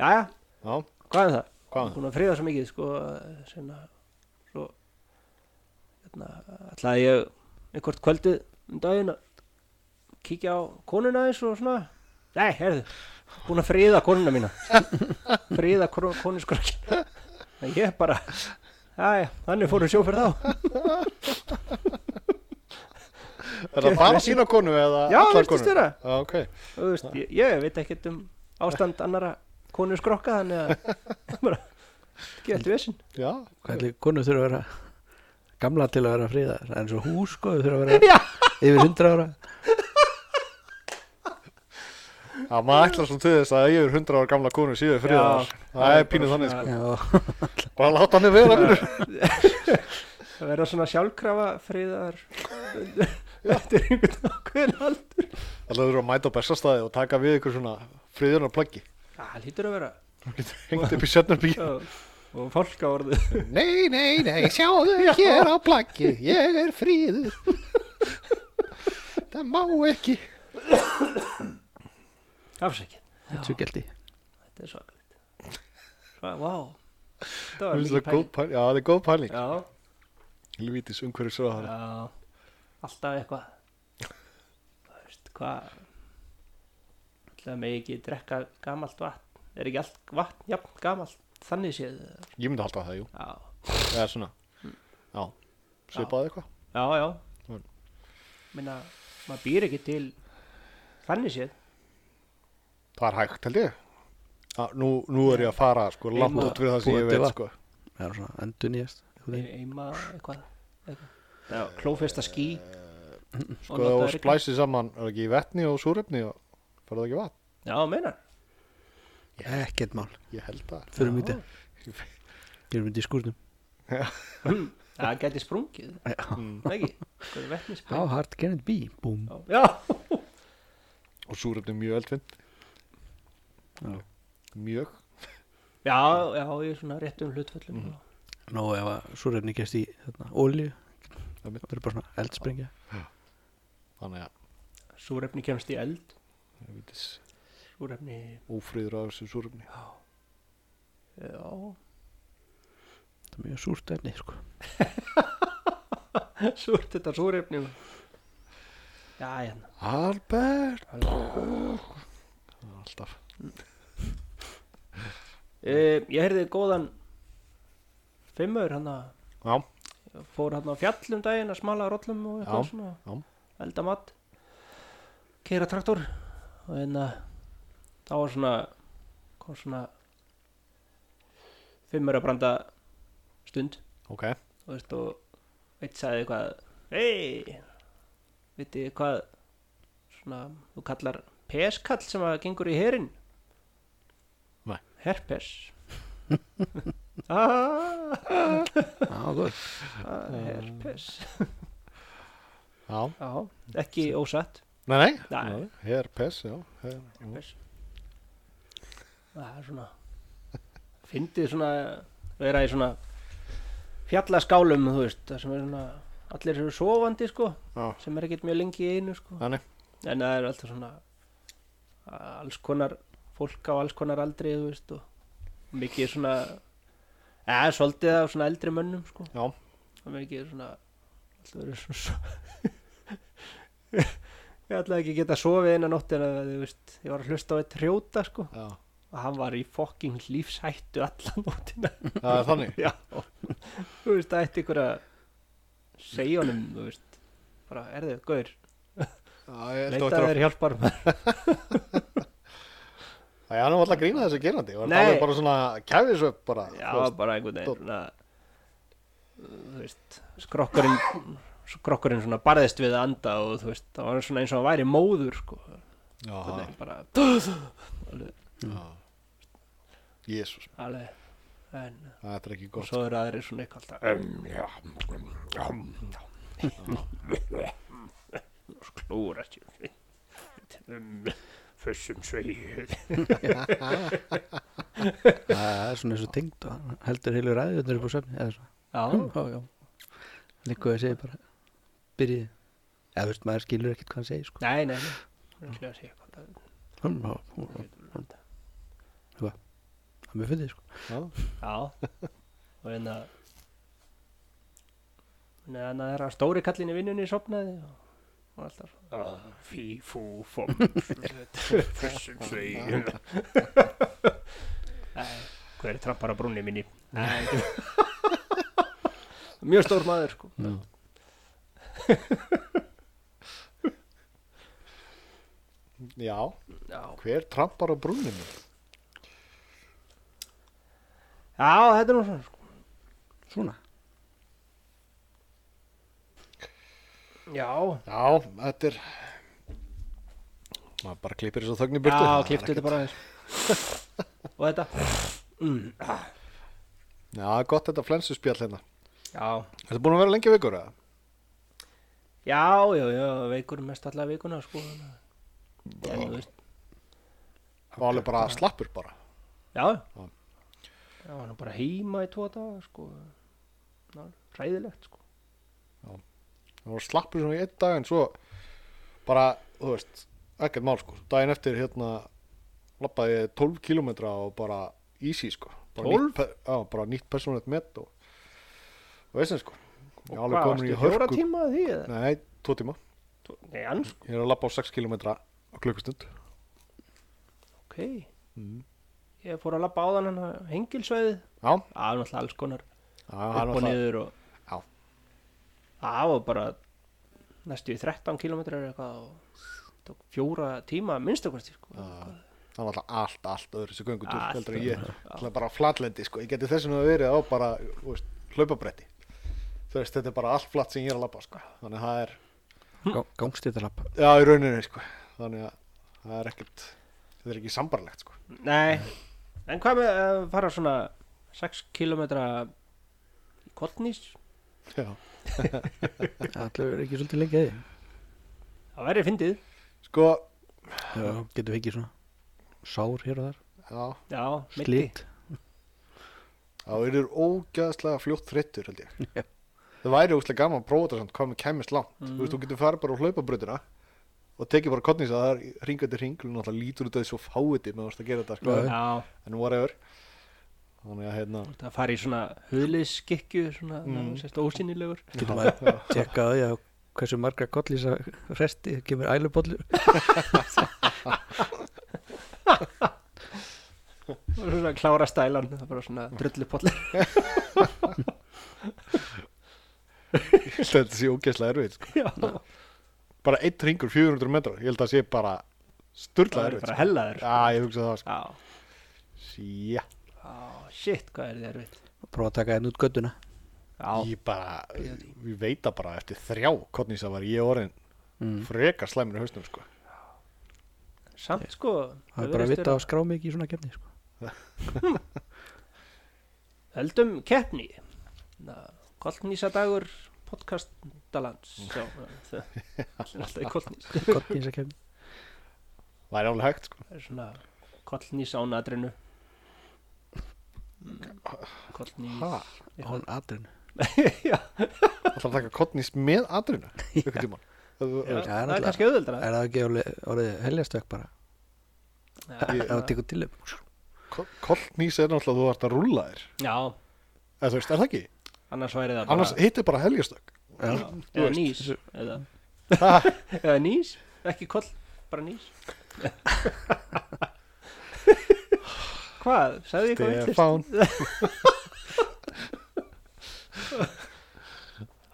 Speaker 2: jæja,
Speaker 1: Já,
Speaker 2: hvað er
Speaker 1: hvað er
Speaker 2: það?
Speaker 1: það?
Speaker 2: búin að friða svo mikið sko sinna, svo hérna, ætlaði ég einhvert kvöldið um daginn að kíkja á konuna eins og svona nei, herðu, búin að friða konuna mína friða konuskrakkin ég bara Æja, þannig fóru sjó fyrir þá
Speaker 1: Er það bara sína konu eða
Speaker 2: Já,
Speaker 1: allar
Speaker 2: virtist
Speaker 1: konur?
Speaker 2: vera.
Speaker 1: Já, ok.
Speaker 2: Þú veist, ég, ég veit ekkert um ástand annara konuskrokka þannig að bara, ekki alltaf vesinn
Speaker 1: Já,
Speaker 3: Hvað ætli konu þurfa að vera Gamla til að vera friðar Það er eins og hús sko Þau þurfa að vera
Speaker 2: Já,
Speaker 3: yfir 100 ára
Speaker 1: það maður ætlar svona til þess að yfir 100 ára gamla konu síðu fyrir það. Það er pínuð þannig, sko.
Speaker 3: Já
Speaker 1: Bara láta hann vera fyrir.
Speaker 2: Það verða svona sjálfkrafa friðar eftir einhvern ákveðin aldur
Speaker 1: Það lögur að mæta á bestastæði og taka við ykkur svona friðurna plaggi.
Speaker 2: Það lítur að vera
Speaker 1: Hengt upp í sérnarbyggi.
Speaker 2: Já, og fólk á orðu
Speaker 1: Nei, nei, nei, sjáðu hér á plaggi. Ég er friður. það má ekki.
Speaker 2: Afsækja,
Speaker 3: Tjúkjaldi
Speaker 2: þetta er svakalegt Svá, vá Það
Speaker 1: Það
Speaker 2: var
Speaker 1: er
Speaker 2: mikið
Speaker 1: svo góð
Speaker 2: pæling
Speaker 1: pæling. Já, það er góð pæling.
Speaker 2: Já,
Speaker 1: Helvítis umhverju svo það.
Speaker 2: já Alltaf eitthvað Það veist, hvað Það megi ekki drekka gamalt vatn Er ekki allt vatn, jafn, gamalt Þannig séð Já,
Speaker 1: Ég myndi halda það, jú. Eða svona. Já, svipað eitthvað.
Speaker 2: já, já
Speaker 1: Mm.
Speaker 2: Minna, maður býr ekki til Þannig séð
Speaker 1: Það er hægt, held ég. Ja, nú, nú er ég að fara, sko,
Speaker 2: Eima-
Speaker 1: langt út fyrir það sem ég
Speaker 3: búið
Speaker 1: veit,
Speaker 3: til
Speaker 1: sko.
Speaker 3: Það er svona endur nýjast
Speaker 2: eima eitthvað, eitthvað. Eh, Já, klófesta ský
Speaker 1: Sko, og splæsið saman, er ekki í vetni og súrefni og farið ekki í vatn?
Speaker 2: já, meinar
Speaker 3: Ekkert mál
Speaker 1: Ég held það.
Speaker 3: Förum í þetta Gerum við þetta í skúrnum
Speaker 2: það gæti sprungið
Speaker 3: Já
Speaker 2: það ekki, hvað er vetni
Speaker 3: How
Speaker 2: sprungið
Speaker 3: hard can it be? Búm
Speaker 2: já,
Speaker 1: Og súrefni er mjög eldfind.
Speaker 3: Já.
Speaker 1: Mjög.
Speaker 2: já, já, ég er svona rétt um hlutföllum mm.
Speaker 3: Nó ef að súrefni gerst í þarna, olju Það
Speaker 1: Einmitt.
Speaker 3: verður bara svona eldsprengja
Speaker 1: Þannig að,
Speaker 2: súrefni kemst í eld
Speaker 1: ég veitis,
Speaker 2: súrefni,
Speaker 1: ófrýður á þessu súrefni.
Speaker 2: já
Speaker 3: Það er mjög súrt efni sko
Speaker 2: súr, þetta súrefni já, hérna
Speaker 1: Albert! Alltaf.
Speaker 2: e, ég heyrði góðan fimmur hann að
Speaker 1: Já,
Speaker 2: fór hann á fjall um daginn að smala rollum og eitthvað
Speaker 1: Já,
Speaker 2: svona
Speaker 1: já.
Speaker 2: elda mat keira traktor og hérna þá var svona kom svona fimmur að branda stund
Speaker 1: ok.
Speaker 2: og veist og eitt sagði eitthvað hei viti hvað svona þú kallar peskall sem að gengur í herin
Speaker 1: Nei.
Speaker 2: herpes ah,
Speaker 3: Já, góð
Speaker 2: ah, herpes
Speaker 1: Já.
Speaker 2: Já, ekki ósatt
Speaker 1: Nei, nei.
Speaker 2: Nei.
Speaker 1: Hér pess, já. Her, jú.
Speaker 2: Pes. Það er svona Fyndið svona vera í svona fjallaskálum þú veist, það sem er svona allir eru sofandi sko,
Speaker 1: Já.
Speaker 2: sem er ekkert mjög lengi í einu sko,
Speaker 1: Þannig.
Speaker 2: en það er alltaf svona alls konar fólk á alls konar aldri þú veist og mikið svona eða svolítið af svona eldri mönnum sko
Speaker 1: Já.
Speaker 2: og mikið svona alltaf verið svona svo ég ætlaði ekki að geta sofið eina nótt en að þú veist ég var að hlusta á eitt hrjóta sko
Speaker 1: Já.
Speaker 2: og hann var í fucking lífshættu alla nóttina
Speaker 1: Það er þannig
Speaker 2: já þú veist það ætti ykkur að segja honum þú veist bara erðu gaur
Speaker 1: Já, ég held að
Speaker 2: leita
Speaker 1: þetta
Speaker 2: þér hjálpar
Speaker 1: Það er hann var alltaf að grína þessu gerandi Það
Speaker 2: Nei.
Speaker 1: er bara svona kæfisöp bara
Speaker 2: Já,
Speaker 1: þú veist.
Speaker 2: bara einhvern veginn
Speaker 1: dót.
Speaker 2: svona, uh, þú veist, skrokkurinn skrokkurinn svona barðist við að anda og þú veist, það var svona eins og hann væri móður sko,
Speaker 1: Já,
Speaker 2: einhvern veginn bara
Speaker 1: já. Jésús,
Speaker 2: alveg, en
Speaker 1: það er ekki
Speaker 2: og
Speaker 1: gott
Speaker 2: svo eru aðrir svona eitthvað alltaf um, já, um, já sklúra sér um, fussum sveið
Speaker 3: Það er svona eins og tengd og heldur heilu ræðið upp á söfni eða svo.
Speaker 2: Já,
Speaker 3: já, já. Líku að segja bara byrjið. Eða veist, maður skilur ekkert hvað hann segir sko.
Speaker 2: nei, nei, nei Nú ætla ég að segja hvað það-
Speaker 3: Hum, hum, hum, hum. Það er mjög fyndið sko.
Speaker 1: Já.
Speaker 2: Já og hérna þannig að hann er að stóri kallin í vinnunni sopnaði og og alltaf svona, Ah, fí fú fóm fyrstum svei hver er trappar á brúnni minni Nei. mjög stór maður sko
Speaker 1: Já,
Speaker 2: já,
Speaker 1: hver trampar á brúninu?
Speaker 2: já þetta er nú svona sko.
Speaker 3: Svona.
Speaker 2: já,
Speaker 1: Já, þetta er maður bara klippir þessu þögn í burtu
Speaker 2: já
Speaker 1: Það er
Speaker 2: kliftu
Speaker 1: ekkert-
Speaker 2: þetta bara aðeins og þetta mm,
Speaker 1: Já, gott þetta flensu spjall hérna
Speaker 2: já
Speaker 1: Þetta búin að vera lengi vikur eða?
Speaker 2: Já, já, já, veikur mest alla vikuna sko þannig að- En þú veist,
Speaker 1: Og alveg bara slappur bara
Speaker 2: já Já, hann er bara heima í tvo daga sko Ná, Ræðilegt sko
Speaker 1: Það var slappur svona í einn dag en svo bara, þú veist, ekkert mál sko Daginn eftir hérna lappaði ég 12 kilometra og bara easy sko bara
Speaker 2: 12?
Speaker 1: nýtt pe- Já, bara nýtt persónlegt met og, og veist það sko Ég er
Speaker 2: Og
Speaker 1: alveg
Speaker 2: hvað,
Speaker 1: komin í
Speaker 2: varstu fjóra
Speaker 1: hörku
Speaker 2: tíma að því eða?
Speaker 1: Nei, tvo tíma
Speaker 2: Tó- Nei, annars,
Speaker 1: Ég er að lappa á 6 kilometra á klukkustund
Speaker 2: ok
Speaker 1: Mm.
Speaker 2: Ég fór að labba áðan hann að hengilsveið
Speaker 1: Já, já,
Speaker 2: Það er náttúrulega alls konar
Speaker 1: það er
Speaker 2: upp og
Speaker 1: náttúrulega
Speaker 2: niður og
Speaker 1: Já.
Speaker 2: Það var bara næstu í 13 kilometrar eitthvað og tók fjóra tíma að minnstakosti sko
Speaker 1: Já. Það var alltaf allt, allt öðru þessu göngutúr
Speaker 2: Allt
Speaker 1: heldur en
Speaker 2: öðruvísi,
Speaker 1: ég,
Speaker 2: já.
Speaker 1: alltaf bara á flatlendi sko, ég geti þessum að verið á bara þú veist, hlaupabretti þú veist, þetta er bara allt flatt sem ég er að labba sko. þannig að það er,
Speaker 3: Hm. Gangstíðalappa.
Speaker 1: já í rauninni sko. þannig að það er ekkert þetta er ekki sambarlegt sko.
Speaker 2: Nei, en hvað með að fara svona 6 km í kollnís?
Speaker 1: já,
Speaker 3: Allir verður ekki svolítið lengi að því.
Speaker 2: Það væri fyndið.
Speaker 1: sko,
Speaker 3: Já, getur við ekki svona sár hér og þar.
Speaker 1: já
Speaker 2: Já, meiddi.
Speaker 3: Slit.
Speaker 1: það verður ógæðslega fljótt þreyttur held ég
Speaker 3: Já.
Speaker 1: það væri ógæðslega gaman að prófa þetta samt hvað með kæmist langt þú veist, þú getur farið bara á hlaupabrettina og tekið bara kottnins að það er ringandi ringlu og það lítur út af því svo fáiði með að gera þetta sko.
Speaker 3: Já.
Speaker 2: Já,
Speaker 1: en whatever þannig að hérna
Speaker 2: það fari í svona huliðskikju, svona mm.
Speaker 1: Mm.
Speaker 2: sérst ósynilegur.
Speaker 3: Getur maður að tjekka á því að hversu margra kollísa resti kemur ælubollur.
Speaker 2: Og svona klára stælan, það er bara svona
Speaker 3: Mm.
Speaker 2: drullupollir.
Speaker 1: ég held að þetta sé ógeðslega erfið sko.
Speaker 2: Já,
Speaker 1: bara einn ringur 400 metrar ég held að það sé bara
Speaker 2: það
Speaker 1: sturla
Speaker 2: er
Speaker 1: erfið
Speaker 2: bara
Speaker 1: sko.
Speaker 2: hellaður.
Speaker 1: já ég hugsa það sko.
Speaker 2: Já,
Speaker 1: Sjá,
Speaker 2: já, shit, hvað er þið erfitt.
Speaker 3: Prófa að taka henn út göttuna.
Speaker 2: Já,
Speaker 1: ég bara við veita bara eftir þrjá kottnýsa var ég orðin
Speaker 3: Mm.
Speaker 1: frekar slæmur í hausnum sko.
Speaker 2: samt sko.
Speaker 3: Það er bara að
Speaker 2: virðist
Speaker 3: vita
Speaker 2: vera-
Speaker 3: að skrá mig ekki í svona kefni. Sko.
Speaker 2: Höldum keppni Koltnísadagur podcast Dalands
Speaker 3: Mm.
Speaker 2: Já, það er alltaf í koltnís
Speaker 3: Kollísa kefni.
Speaker 1: það er alveg hægt sko.
Speaker 2: Það er svona koltnís á nadrinu
Speaker 3: Mm.
Speaker 2: Koltnís
Speaker 1: ha,
Speaker 3: Án atrinu.
Speaker 2: Já,
Speaker 1: alltaf að taka kottnýs með atrinu einhvern tímann Það-
Speaker 2: já,
Speaker 1: það-
Speaker 2: það er
Speaker 3: náttúrulega.
Speaker 2: kannski auðvöldra
Speaker 3: Er það ekki orðið, orðið heljastökk bara? ef það tekur til upp
Speaker 1: Koltnís er náttúrulega að þú ert að rúlla þér
Speaker 2: já,
Speaker 1: eða þú veist, er það ekki?
Speaker 2: annars væri það bara
Speaker 1: annars hittir bara helgjastök
Speaker 2: já,
Speaker 1: þú
Speaker 2: eða
Speaker 1: veist.
Speaker 2: nýs eða, eða nýs, ekki koll bara nýs hvað, sagði ég eitthvað vitlaust?
Speaker 1: Stefán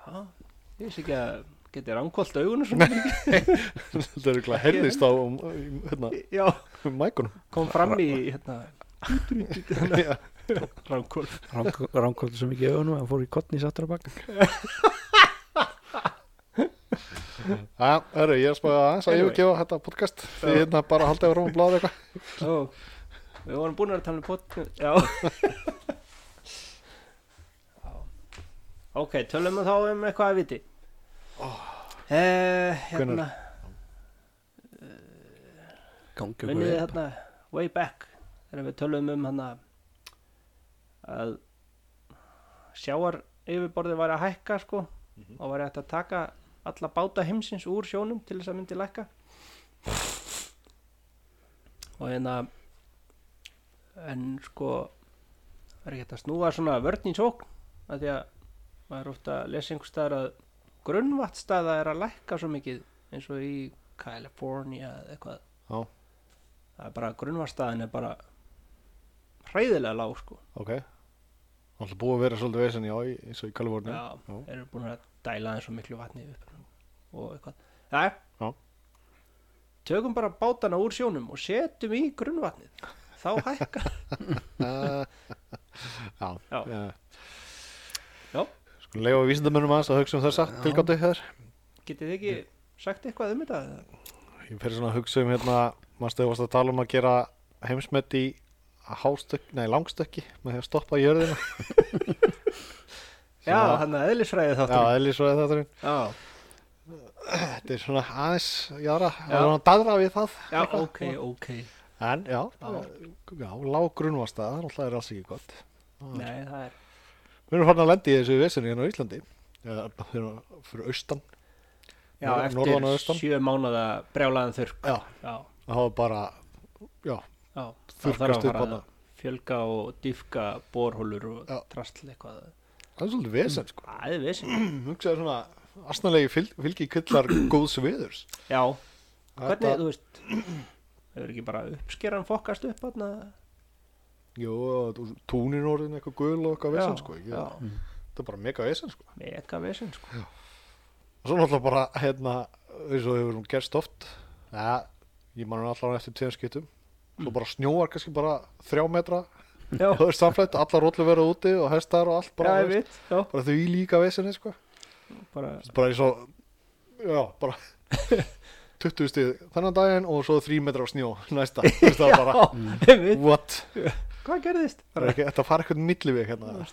Speaker 2: Já, ég veist ekki að geti rangkolt augunum svona mikið.
Speaker 1: þetta er eitthvað herðist á um, um, hérna,
Speaker 2: já,
Speaker 1: um mækunum
Speaker 2: kom fram í hérna,
Speaker 1: Já.
Speaker 2: rangkolt
Speaker 3: ránkóldi svo mikið í augunum að hann fór í kottni sattur á bak
Speaker 1: Já, hörru, ég er að spáða aðeins að yfirgefa þetta podcast því hérna bara haldið að rúma bláð eitthvað
Speaker 2: Ó, við vorum búin að tala um pot Já Já. Ok, tölum við þá um eitthvað að viti eh, Hérna,
Speaker 3: gangi
Speaker 2: munið þið
Speaker 3: okkur
Speaker 2: hérna Way back Þegar við tölum um hérna Að Sjáar yfirborðið var að hækka sko Og var hægt að taka Alla báta heimsins úr sjónum Til þess að myndi lækka Og hérna en sko það er ekki hægt að snúa svona vörn í sókn af því að maður er oft að lesa einhvers staðar að grunnvattstaða er að lækka svo mikið eins og í California eða eitthvað
Speaker 1: Já.
Speaker 2: það er bara grunnvattstaðan er bara hræðilega lág sko
Speaker 1: Ok Alltaf búið að vera svolítið vesen, já, í- eins og í Kaliforni
Speaker 2: já,
Speaker 1: Já.
Speaker 2: þeir eru búin að dæla þeim svo miklu vatni upp og eitthvað það er,
Speaker 1: Já.
Speaker 2: tökum bara bátana úr sjónum og setjum í grunnvatnið þá hækka
Speaker 1: Já,
Speaker 2: Já.
Speaker 1: já.
Speaker 2: Já.
Speaker 1: Skulum leifa vísindamönnum aðeins að hugsa um þessa tilgáttu hér
Speaker 2: getið þið ekki sagt eitthvað um þetta eða?
Speaker 1: Ég fyrir svona að hugsa um hérna mannstu þú varst að tala um að gera heimsmet í hástökk, nei langstökki með því að stoppa jörðina
Speaker 2: Já,
Speaker 1: Svona-
Speaker 2: hann að eðlisfræði
Speaker 1: Já,
Speaker 2: þáttur
Speaker 1: eðlisvæði þátturinn
Speaker 2: Já,
Speaker 1: Þetta er svona aðeins, jára,
Speaker 2: Já.
Speaker 1: það er hann að daðra við það
Speaker 2: já, ok, ok
Speaker 1: En já, já lág grunnvastaða, alltaf er alls ekki gott
Speaker 2: Nei, það er
Speaker 1: Við erum farin að lenda í þessu vesinu hérna á Íslandi Eða, Við erum fyrir austan
Speaker 2: Já,
Speaker 1: Nor- norðan og
Speaker 2: eftir
Speaker 1: austan.
Speaker 2: sjö mánuða brjálaðan þurrk
Speaker 1: Já,
Speaker 2: Já,
Speaker 1: það var bara, já,
Speaker 2: já Þá þarf
Speaker 1: Þurrkast
Speaker 2: að
Speaker 1: upp
Speaker 2: fara
Speaker 1: hana.
Speaker 2: að fjölga og dýfka borhólur og
Speaker 1: Já.
Speaker 2: drastl eitthvað
Speaker 1: það er svolítið vesen sko
Speaker 2: Það er vissin
Speaker 1: Hugsaði svona asnalegi fylg, fylgi kvillar góðs viðurs
Speaker 2: Já, hvernig,
Speaker 1: Þetta-
Speaker 2: þú veist Hefur ekki bara uppskeran fokkast upp hann
Speaker 1: Jú, og túnin orðin eitthvað gul og eitthvað vesen sko ekki?
Speaker 2: Já,
Speaker 1: Þetta er bara mega vesen sko
Speaker 2: mega vissin sko
Speaker 1: Og svo náttúrulega bara, hérna, eins og hefur hún gerst oft ja, Ég man hann allan eftir tveim skiptum
Speaker 2: Mm.
Speaker 1: Svo bara snjóar kannski bara þrjá metra
Speaker 2: Já,
Speaker 1: Það er samflætt, allar rollu verið úti og hestar og allt bara þú
Speaker 2: já, ég
Speaker 1: veist,
Speaker 2: veit Já,
Speaker 1: Bara því líka vesenni sko
Speaker 2: bara,
Speaker 1: bara eins og já, bara 20 stíð þennan daginn og svo 3 metrar af snjó næsta, Þú veist það er bara
Speaker 2: ég veit
Speaker 1: what,
Speaker 2: Hvað gerðist?
Speaker 1: Það er ekki, þetta fara eitthvað milliveg hérna,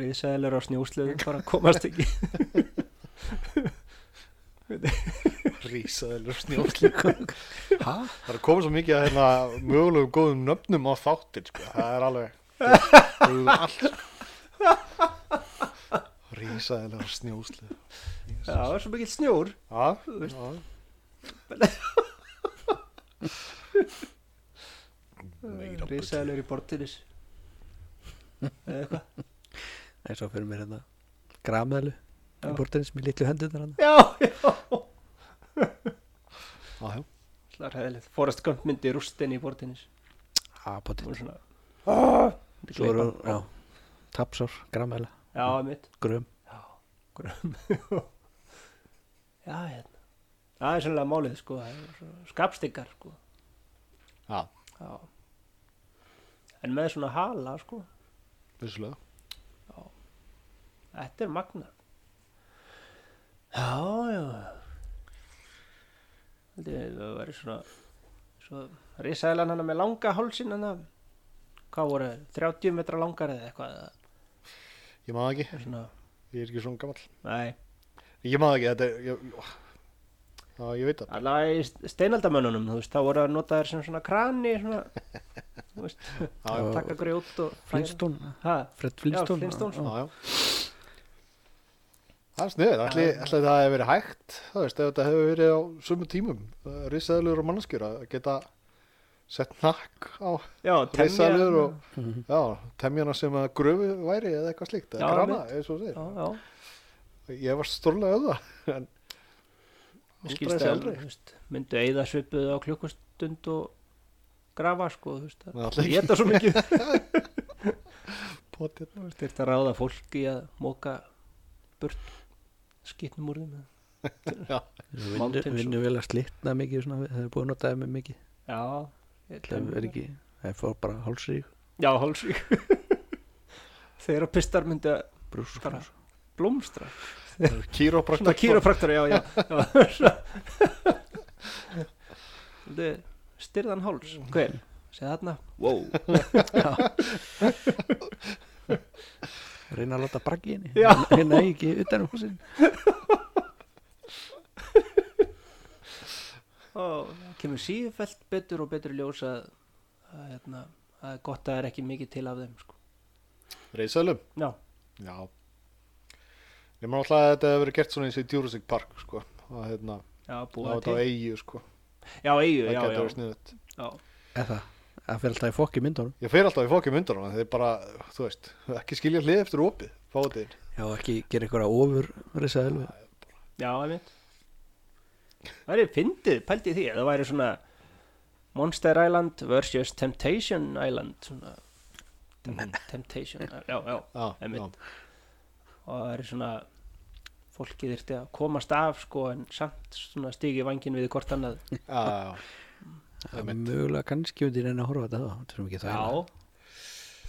Speaker 2: Riðsæðilegur á snjósluðum bara komast ekki
Speaker 1: rísaðilur snjó það er komið svo mikið að hérna, mögulegum góðum nöfnum á þáttir sko. það er alveg það er allt rísaðilur snjóslið
Speaker 2: Já, það er svo mikill snjór
Speaker 1: Já,
Speaker 2: veist.
Speaker 1: já. Meira bull.
Speaker 2: Risaðalur í bortinis Eða eitthvað
Speaker 3: eins og fyrir mér hérna gramælu í
Speaker 2: Já.
Speaker 3: bortins með litlu hendunar hann
Speaker 2: Já, já
Speaker 1: Já, já.
Speaker 2: Það er hæðilegt Forrest Gump myndi rústin í bortinis
Speaker 3: að potið
Speaker 2: Hún er svona
Speaker 1: Ah!
Speaker 2: Myndi
Speaker 3: svo eru
Speaker 2: gleypa.
Speaker 3: já tapsár gramæla
Speaker 2: Já, mitt
Speaker 3: grum
Speaker 2: Grömm Já, hérna Það er sannlega málið, sko það eru svo Skapstikar, sko
Speaker 1: já,
Speaker 2: Já En með svona hala, sko
Speaker 1: vissulega
Speaker 2: Þetta er magna Já, já Þetta er það væri svona svo risaðilan hana með langa hálsin hana hvað voru, þær, 30 metra langar eða eitthvað eða
Speaker 1: Ég maður ekki,
Speaker 2: svona,
Speaker 1: ég er ekki svona gammal
Speaker 2: nei,
Speaker 1: Ég maður ekki, þetta er ég, ég, Já, ég veit það
Speaker 2: allavega í steinaldamönnunum þú veist, þá voru að nota þær sem svona krani svona, þú veist
Speaker 1: já.
Speaker 2: taka grjót og
Speaker 3: Flintstone
Speaker 2: ha,
Speaker 3: Fred Flintstone
Speaker 2: Flintstone,
Speaker 1: Já, já Það er sniður, ætli, ætli það hefur verið hægt Það veist, ef þetta hefur verið á sumu tímum Rissaðlur og mannskjur að geta sett nakk á
Speaker 2: já,
Speaker 1: reysaður
Speaker 2: temja-
Speaker 1: og já, temjana sem að gröfu væri eða eitthvað slíkt, eða
Speaker 2: Já,
Speaker 1: grana, eins og þú segir
Speaker 2: já, já,
Speaker 1: ég var stórlega öða en
Speaker 2: mér
Speaker 1: Aldrei
Speaker 2: skilst
Speaker 1: sé
Speaker 2: að
Speaker 1: aldrei.
Speaker 2: þú veist, myndu eigða svipuð á klukkustund og grafa sko, þú veist,
Speaker 1: Nei,
Speaker 2: að
Speaker 1: allir ekki.
Speaker 2: geta svo mikið
Speaker 1: potið
Speaker 2: þú veist, þetta ráða fólki að móka burt skitnum úr þeim
Speaker 3: vinnu,
Speaker 2: Mountains
Speaker 3: vinnu vel að slitna mikið svona, það er búin að notaði mig mikið
Speaker 2: já, ég
Speaker 3: það
Speaker 2: ætla-
Speaker 3: er ekki, það fór bara hálsrík
Speaker 2: já, hálsvík þegar pistar myndi að
Speaker 3: brús
Speaker 2: bara blómstra svona
Speaker 1: kýrópraktor
Speaker 2: kýrofraktur, já, já, já svona. Svolítið styrðan háls hver, segð þarna wow.
Speaker 3: reyna að láta braggi henni
Speaker 2: Já.
Speaker 3: reyna ekki utan um húsin
Speaker 2: og kemur sífellt betur og betur í ljós að, að, hérna, að gott að það er ekki mikið til af þeim sko.
Speaker 1: reysalum,
Speaker 2: já,
Speaker 1: já ég maður alltaf að þetta hefur verið gert svona eins og í Jurassic Park sko, að hérna,
Speaker 2: já,
Speaker 1: á
Speaker 2: búa
Speaker 1: þetta
Speaker 2: til
Speaker 1: á eigi sko,
Speaker 2: já, eigu,
Speaker 1: það
Speaker 2: já,
Speaker 1: getur
Speaker 2: já,
Speaker 1: verið sniðut
Speaker 2: já,
Speaker 3: eða, það fyrir alltaf í fokk í myndunum
Speaker 1: ég fer alltaf í fókjum undan hana, þeir bara, þú veist ekki skilja hlið eftir opið, fátiðin
Speaker 3: já, ekki gera eitthvað ofur reysa elvi
Speaker 2: já, einmitt það væri fyndið, pældi því það væri svona Monster Island versus Temptation Island svona Tem-
Speaker 1: Mm-hmm.
Speaker 2: Temptation, já, já
Speaker 1: já, já,
Speaker 2: Einmitt. og það væri svona fólkið þyrfti að komast af sko en samt svona stígi vangin við hvort annað
Speaker 1: já, já. Einmitt.
Speaker 3: mögulega kannski undir enn að horfa á þetta þá þurfum ekki það
Speaker 2: já,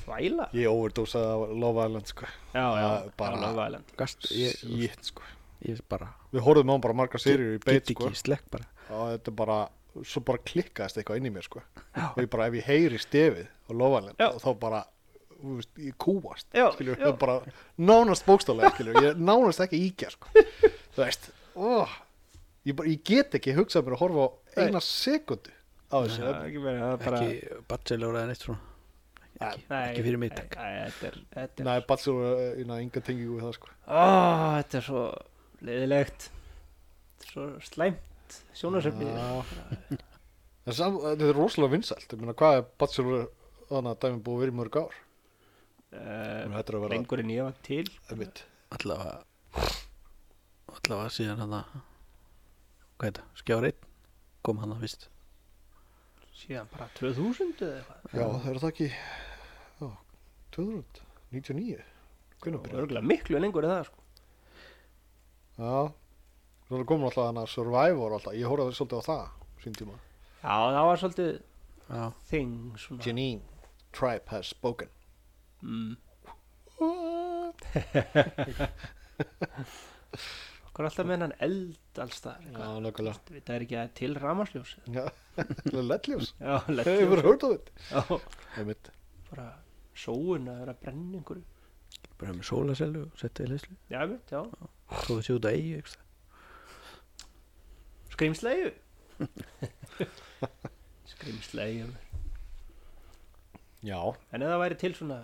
Speaker 2: þvæla
Speaker 1: ég overdósaði á Love Island sko.
Speaker 2: já, já,
Speaker 1: Það er bara-
Speaker 2: já, Love Island
Speaker 3: Gast, ég,
Speaker 1: Shit, sko.
Speaker 3: ég bara
Speaker 1: við horfum á bara margar serjur í beit
Speaker 3: get
Speaker 1: sko.
Speaker 3: ekki slekk bara
Speaker 1: og þetta bara svo bara klikkaðist eitthvað inn í mér sko. og ég bara ef ég heyri stefið og lofaðlega
Speaker 2: Já.
Speaker 1: og þá bara þú veist, ég kúast
Speaker 2: Já,
Speaker 1: skilur,
Speaker 2: já.
Speaker 1: já. bara nánast bókstálega skilur, ég er nánast ekki íkja sko. þú veist ó, ég, bara, ég get ekki hugsað mér að horfa á
Speaker 2: Nei.
Speaker 1: eina sekundu á þessu
Speaker 2: Já,
Speaker 1: efni.
Speaker 2: ekki verið, það er bara
Speaker 3: ekki bachelor eða neitt svona ekki, ekki fyrir mig takk
Speaker 2: nei, þetta er, þetta
Speaker 1: Nei, eh,
Speaker 2: er,
Speaker 1: Batsur er inga tengingu við það sko.
Speaker 2: ó, þetta er svo leiðilegt Þetta er svo slæmt sjónarsöfnið
Speaker 1: Já. En sam- Þetta er rosalega vinsælt Ég meina, Hvað er Batsur þannig að dæmi búið að vera í mörg ár
Speaker 2: uh,
Speaker 1: Þetta er að vera
Speaker 2: lengur en ég var til
Speaker 1: einmitt.
Speaker 3: allavega allavega síðan hann að hvað heit það, skjár 1 kom hann að fyrst
Speaker 2: síðan bara 2000 eða eitthvað
Speaker 1: Já, það eru það ekki já, 299 Hvernig
Speaker 2: Það var
Speaker 1: byrjar?
Speaker 2: örugglega miklu lengur en það sko.
Speaker 1: Já Svo komur alltaf þannig að Survivor og alltaf Ég horfði svolítið á það sín tíma
Speaker 2: já, það var svolítið
Speaker 3: já,
Speaker 2: þing svona
Speaker 1: Janine, Tribe has spoken
Speaker 2: mm. okkur alltaf með hann eld alls það
Speaker 1: Já, nokkulega
Speaker 2: þetta er ekki að til ramarsljós
Speaker 1: Já, Lettljós
Speaker 2: já,
Speaker 1: Hefur verið
Speaker 2: lettljós
Speaker 1: hört á þetta
Speaker 2: Já,
Speaker 1: Einmitt
Speaker 2: bara sóun að vera að brenna einhverju
Speaker 3: bara með sólasellu og setti í leyslu
Speaker 2: já, einmitt, já,
Speaker 3: svo þessi út að eigi
Speaker 2: Skrimsleiðu Skrimsleiðu
Speaker 1: Já
Speaker 2: En eða það væri til svona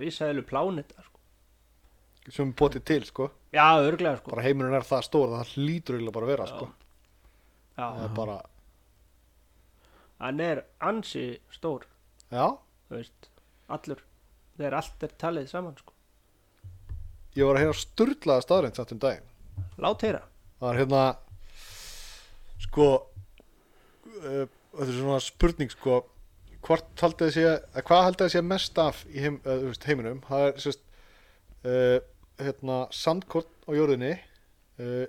Speaker 2: Rísæðilu pláneta sko.
Speaker 1: Sem potið til, sko
Speaker 2: Já, örglega sko
Speaker 1: Bara heimurinn er það stór að Það hlýtur eiginlega bara að vera, sko Það
Speaker 2: Já,
Speaker 1: er bara
Speaker 2: Hann er ansi stór
Speaker 1: Já
Speaker 2: þú veist, Allur Þegar allt er talið saman sko
Speaker 1: Ég var að heyra sturlaða staðrind samt um daginn
Speaker 2: Lát heyra
Speaker 1: það er hérna sko uh, þetta er svona spurning sko hvort haldið sé að hvað haldið sé mest af í heim, uh, veist, heiminum það er sérst uh, hérna sandkort á jörðinni uh,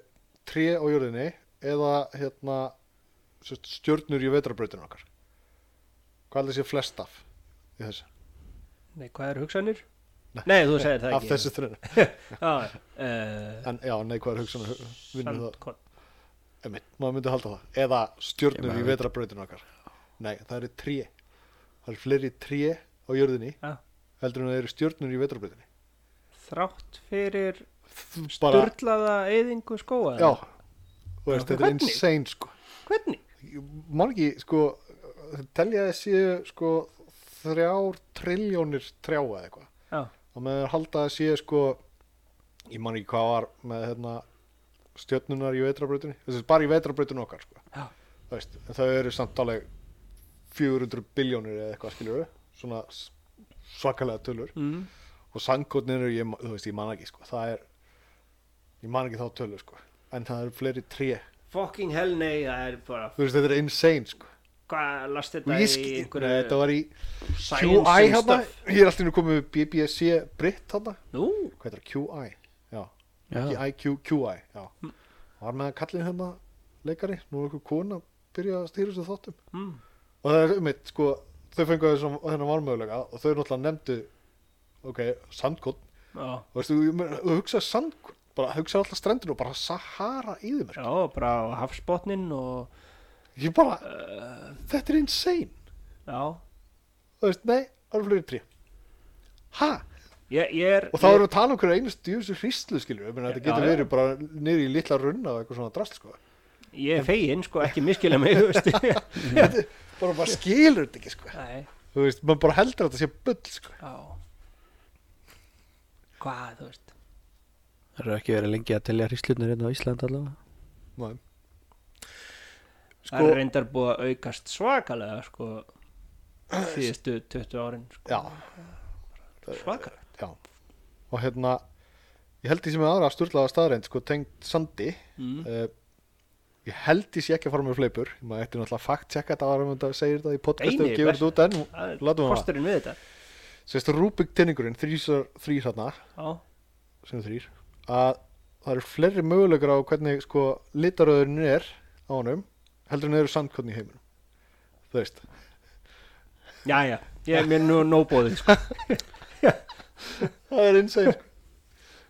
Speaker 1: tré á jörðinni eða hérna sérst, stjörnur í vetrabrautinu okkar hvað haldið sé flest af í þessu
Speaker 2: Nei, hvað eru hugsanir? Nei, þú segir það
Speaker 1: af
Speaker 2: ekki
Speaker 1: þessu þrjum
Speaker 2: Já, eh,
Speaker 1: en já, nei, hvað er hugsan vinnur það
Speaker 2: Sandkott
Speaker 1: Einmitt, maður myndi halda það eða stjörnur
Speaker 3: Ég
Speaker 1: í
Speaker 3: bara-
Speaker 1: vetrabrautinu okkar nei, það eru tré það eru fleiri tré á jörðinni
Speaker 2: Já.
Speaker 1: heldur en það eru stjörnur í vetrabrautinu
Speaker 2: Þrátt fyrir
Speaker 1: bara,
Speaker 2: Sturlaða eyðingu skóa
Speaker 1: já og
Speaker 2: Mm, Já,
Speaker 1: veist, þetta er
Speaker 2: hvernig?
Speaker 1: insane sko
Speaker 2: Hvernig?
Speaker 1: mann ekki, sko þeir telja að séu sko þrjár triljónir trjáa eða eitthvað
Speaker 2: Já,
Speaker 1: og maður halda að séu sko ég man ekki hvað var með hérna, stjörnunar í vetrabrautinu þessi bara í vetrabrautinu okkar sko
Speaker 2: Já.
Speaker 1: Þú veist, en það eru samt alveg 400 biljónir eða eitthvað skilur svona s- svakalega tölur
Speaker 2: mm.
Speaker 1: og sangkotninu, ég, ma- þú veist, ég man ekki sko. það er, ég man ekki þá tölur sko. en það eru fleiri tré
Speaker 2: Fucking hell nei, það er bara
Speaker 1: þú veist, þetta er insane sko.
Speaker 2: Hvað last
Speaker 1: Og
Speaker 2: þetta
Speaker 1: ég
Speaker 2: í
Speaker 1: skil,
Speaker 2: einhverju
Speaker 1: þetta var í
Speaker 2: science
Speaker 1: QI
Speaker 2: and
Speaker 1: hana,
Speaker 2: stuff?
Speaker 1: ég er alltaf nú komið með BBC Britt hana,
Speaker 2: Nú,
Speaker 1: hvað heitir það, QI já, ekki
Speaker 3: Já,
Speaker 1: IQ, QI já,
Speaker 2: Hm.
Speaker 1: var með að kallin hérna leikari, nú er einhver kona að byrja að stýra þessu þáttum
Speaker 2: mm.
Speaker 1: og það er um eitt, sko, þau fengu þessum þennan valmögulega og þau náttúrulega nefndu ok, sandkott
Speaker 2: já,
Speaker 1: og veistu, ég meina, þú hugsaði sandkott bara hugsaði alltaf strendinu og bara Sahara yfir mér,
Speaker 2: já, bara á hafsbotnin og
Speaker 1: ég bara
Speaker 2: Eh.
Speaker 1: þetta er insane,
Speaker 2: já,
Speaker 1: þú veist, nei það eru fleiri trí ha,
Speaker 2: ég, ég er
Speaker 1: og þá erum við að tala um hverju einu stjúsu hríslu skilur, ég meina þetta
Speaker 2: Já,
Speaker 1: getur
Speaker 2: já.
Speaker 1: verið bara niður í litla runna og eitthvað svona drast sko.
Speaker 2: ég, ég er fegin, sko, ekki miskilja mig, þú veist
Speaker 1: bara, bara skilur þetta ekki sko.
Speaker 2: Nei,
Speaker 1: þú veist, maður bara heldur að þetta sé bull sko.
Speaker 2: já Hvað, þú veist
Speaker 3: það eru ekki verið lengi að telja hríslunir inn á Ísland allavega
Speaker 1: Nei.
Speaker 2: Það
Speaker 1: sko,
Speaker 2: er reyndar búið að aukast svakalega, sko síðustu 20 árin, sko
Speaker 1: já,
Speaker 2: Svakalega
Speaker 1: já og hérna ég held því sem er aðra sturlaða staðreind sko, tengt sandi
Speaker 2: mm.
Speaker 1: uh, ég held því sé ekki að fara með fleipur maður ætti náttúrulega fakt tjekka þetta ára um þetta segir þetta í podcastu
Speaker 2: Nei, nei,
Speaker 1: og gefur þetta út en
Speaker 2: Það er
Speaker 1: látum við það
Speaker 2: kosturinn við þetta
Speaker 1: sérst Rubik tinningurinn, þrýr hérna
Speaker 2: Já,
Speaker 1: sem er þrýr að það eru fleiri mögulegur á hvernig sko litaröðurinn er á honum heldur en eru sandkotni í heiminum þú veist
Speaker 2: já, já, ég er mér nú nóbóðið, sko
Speaker 1: það er insane sko.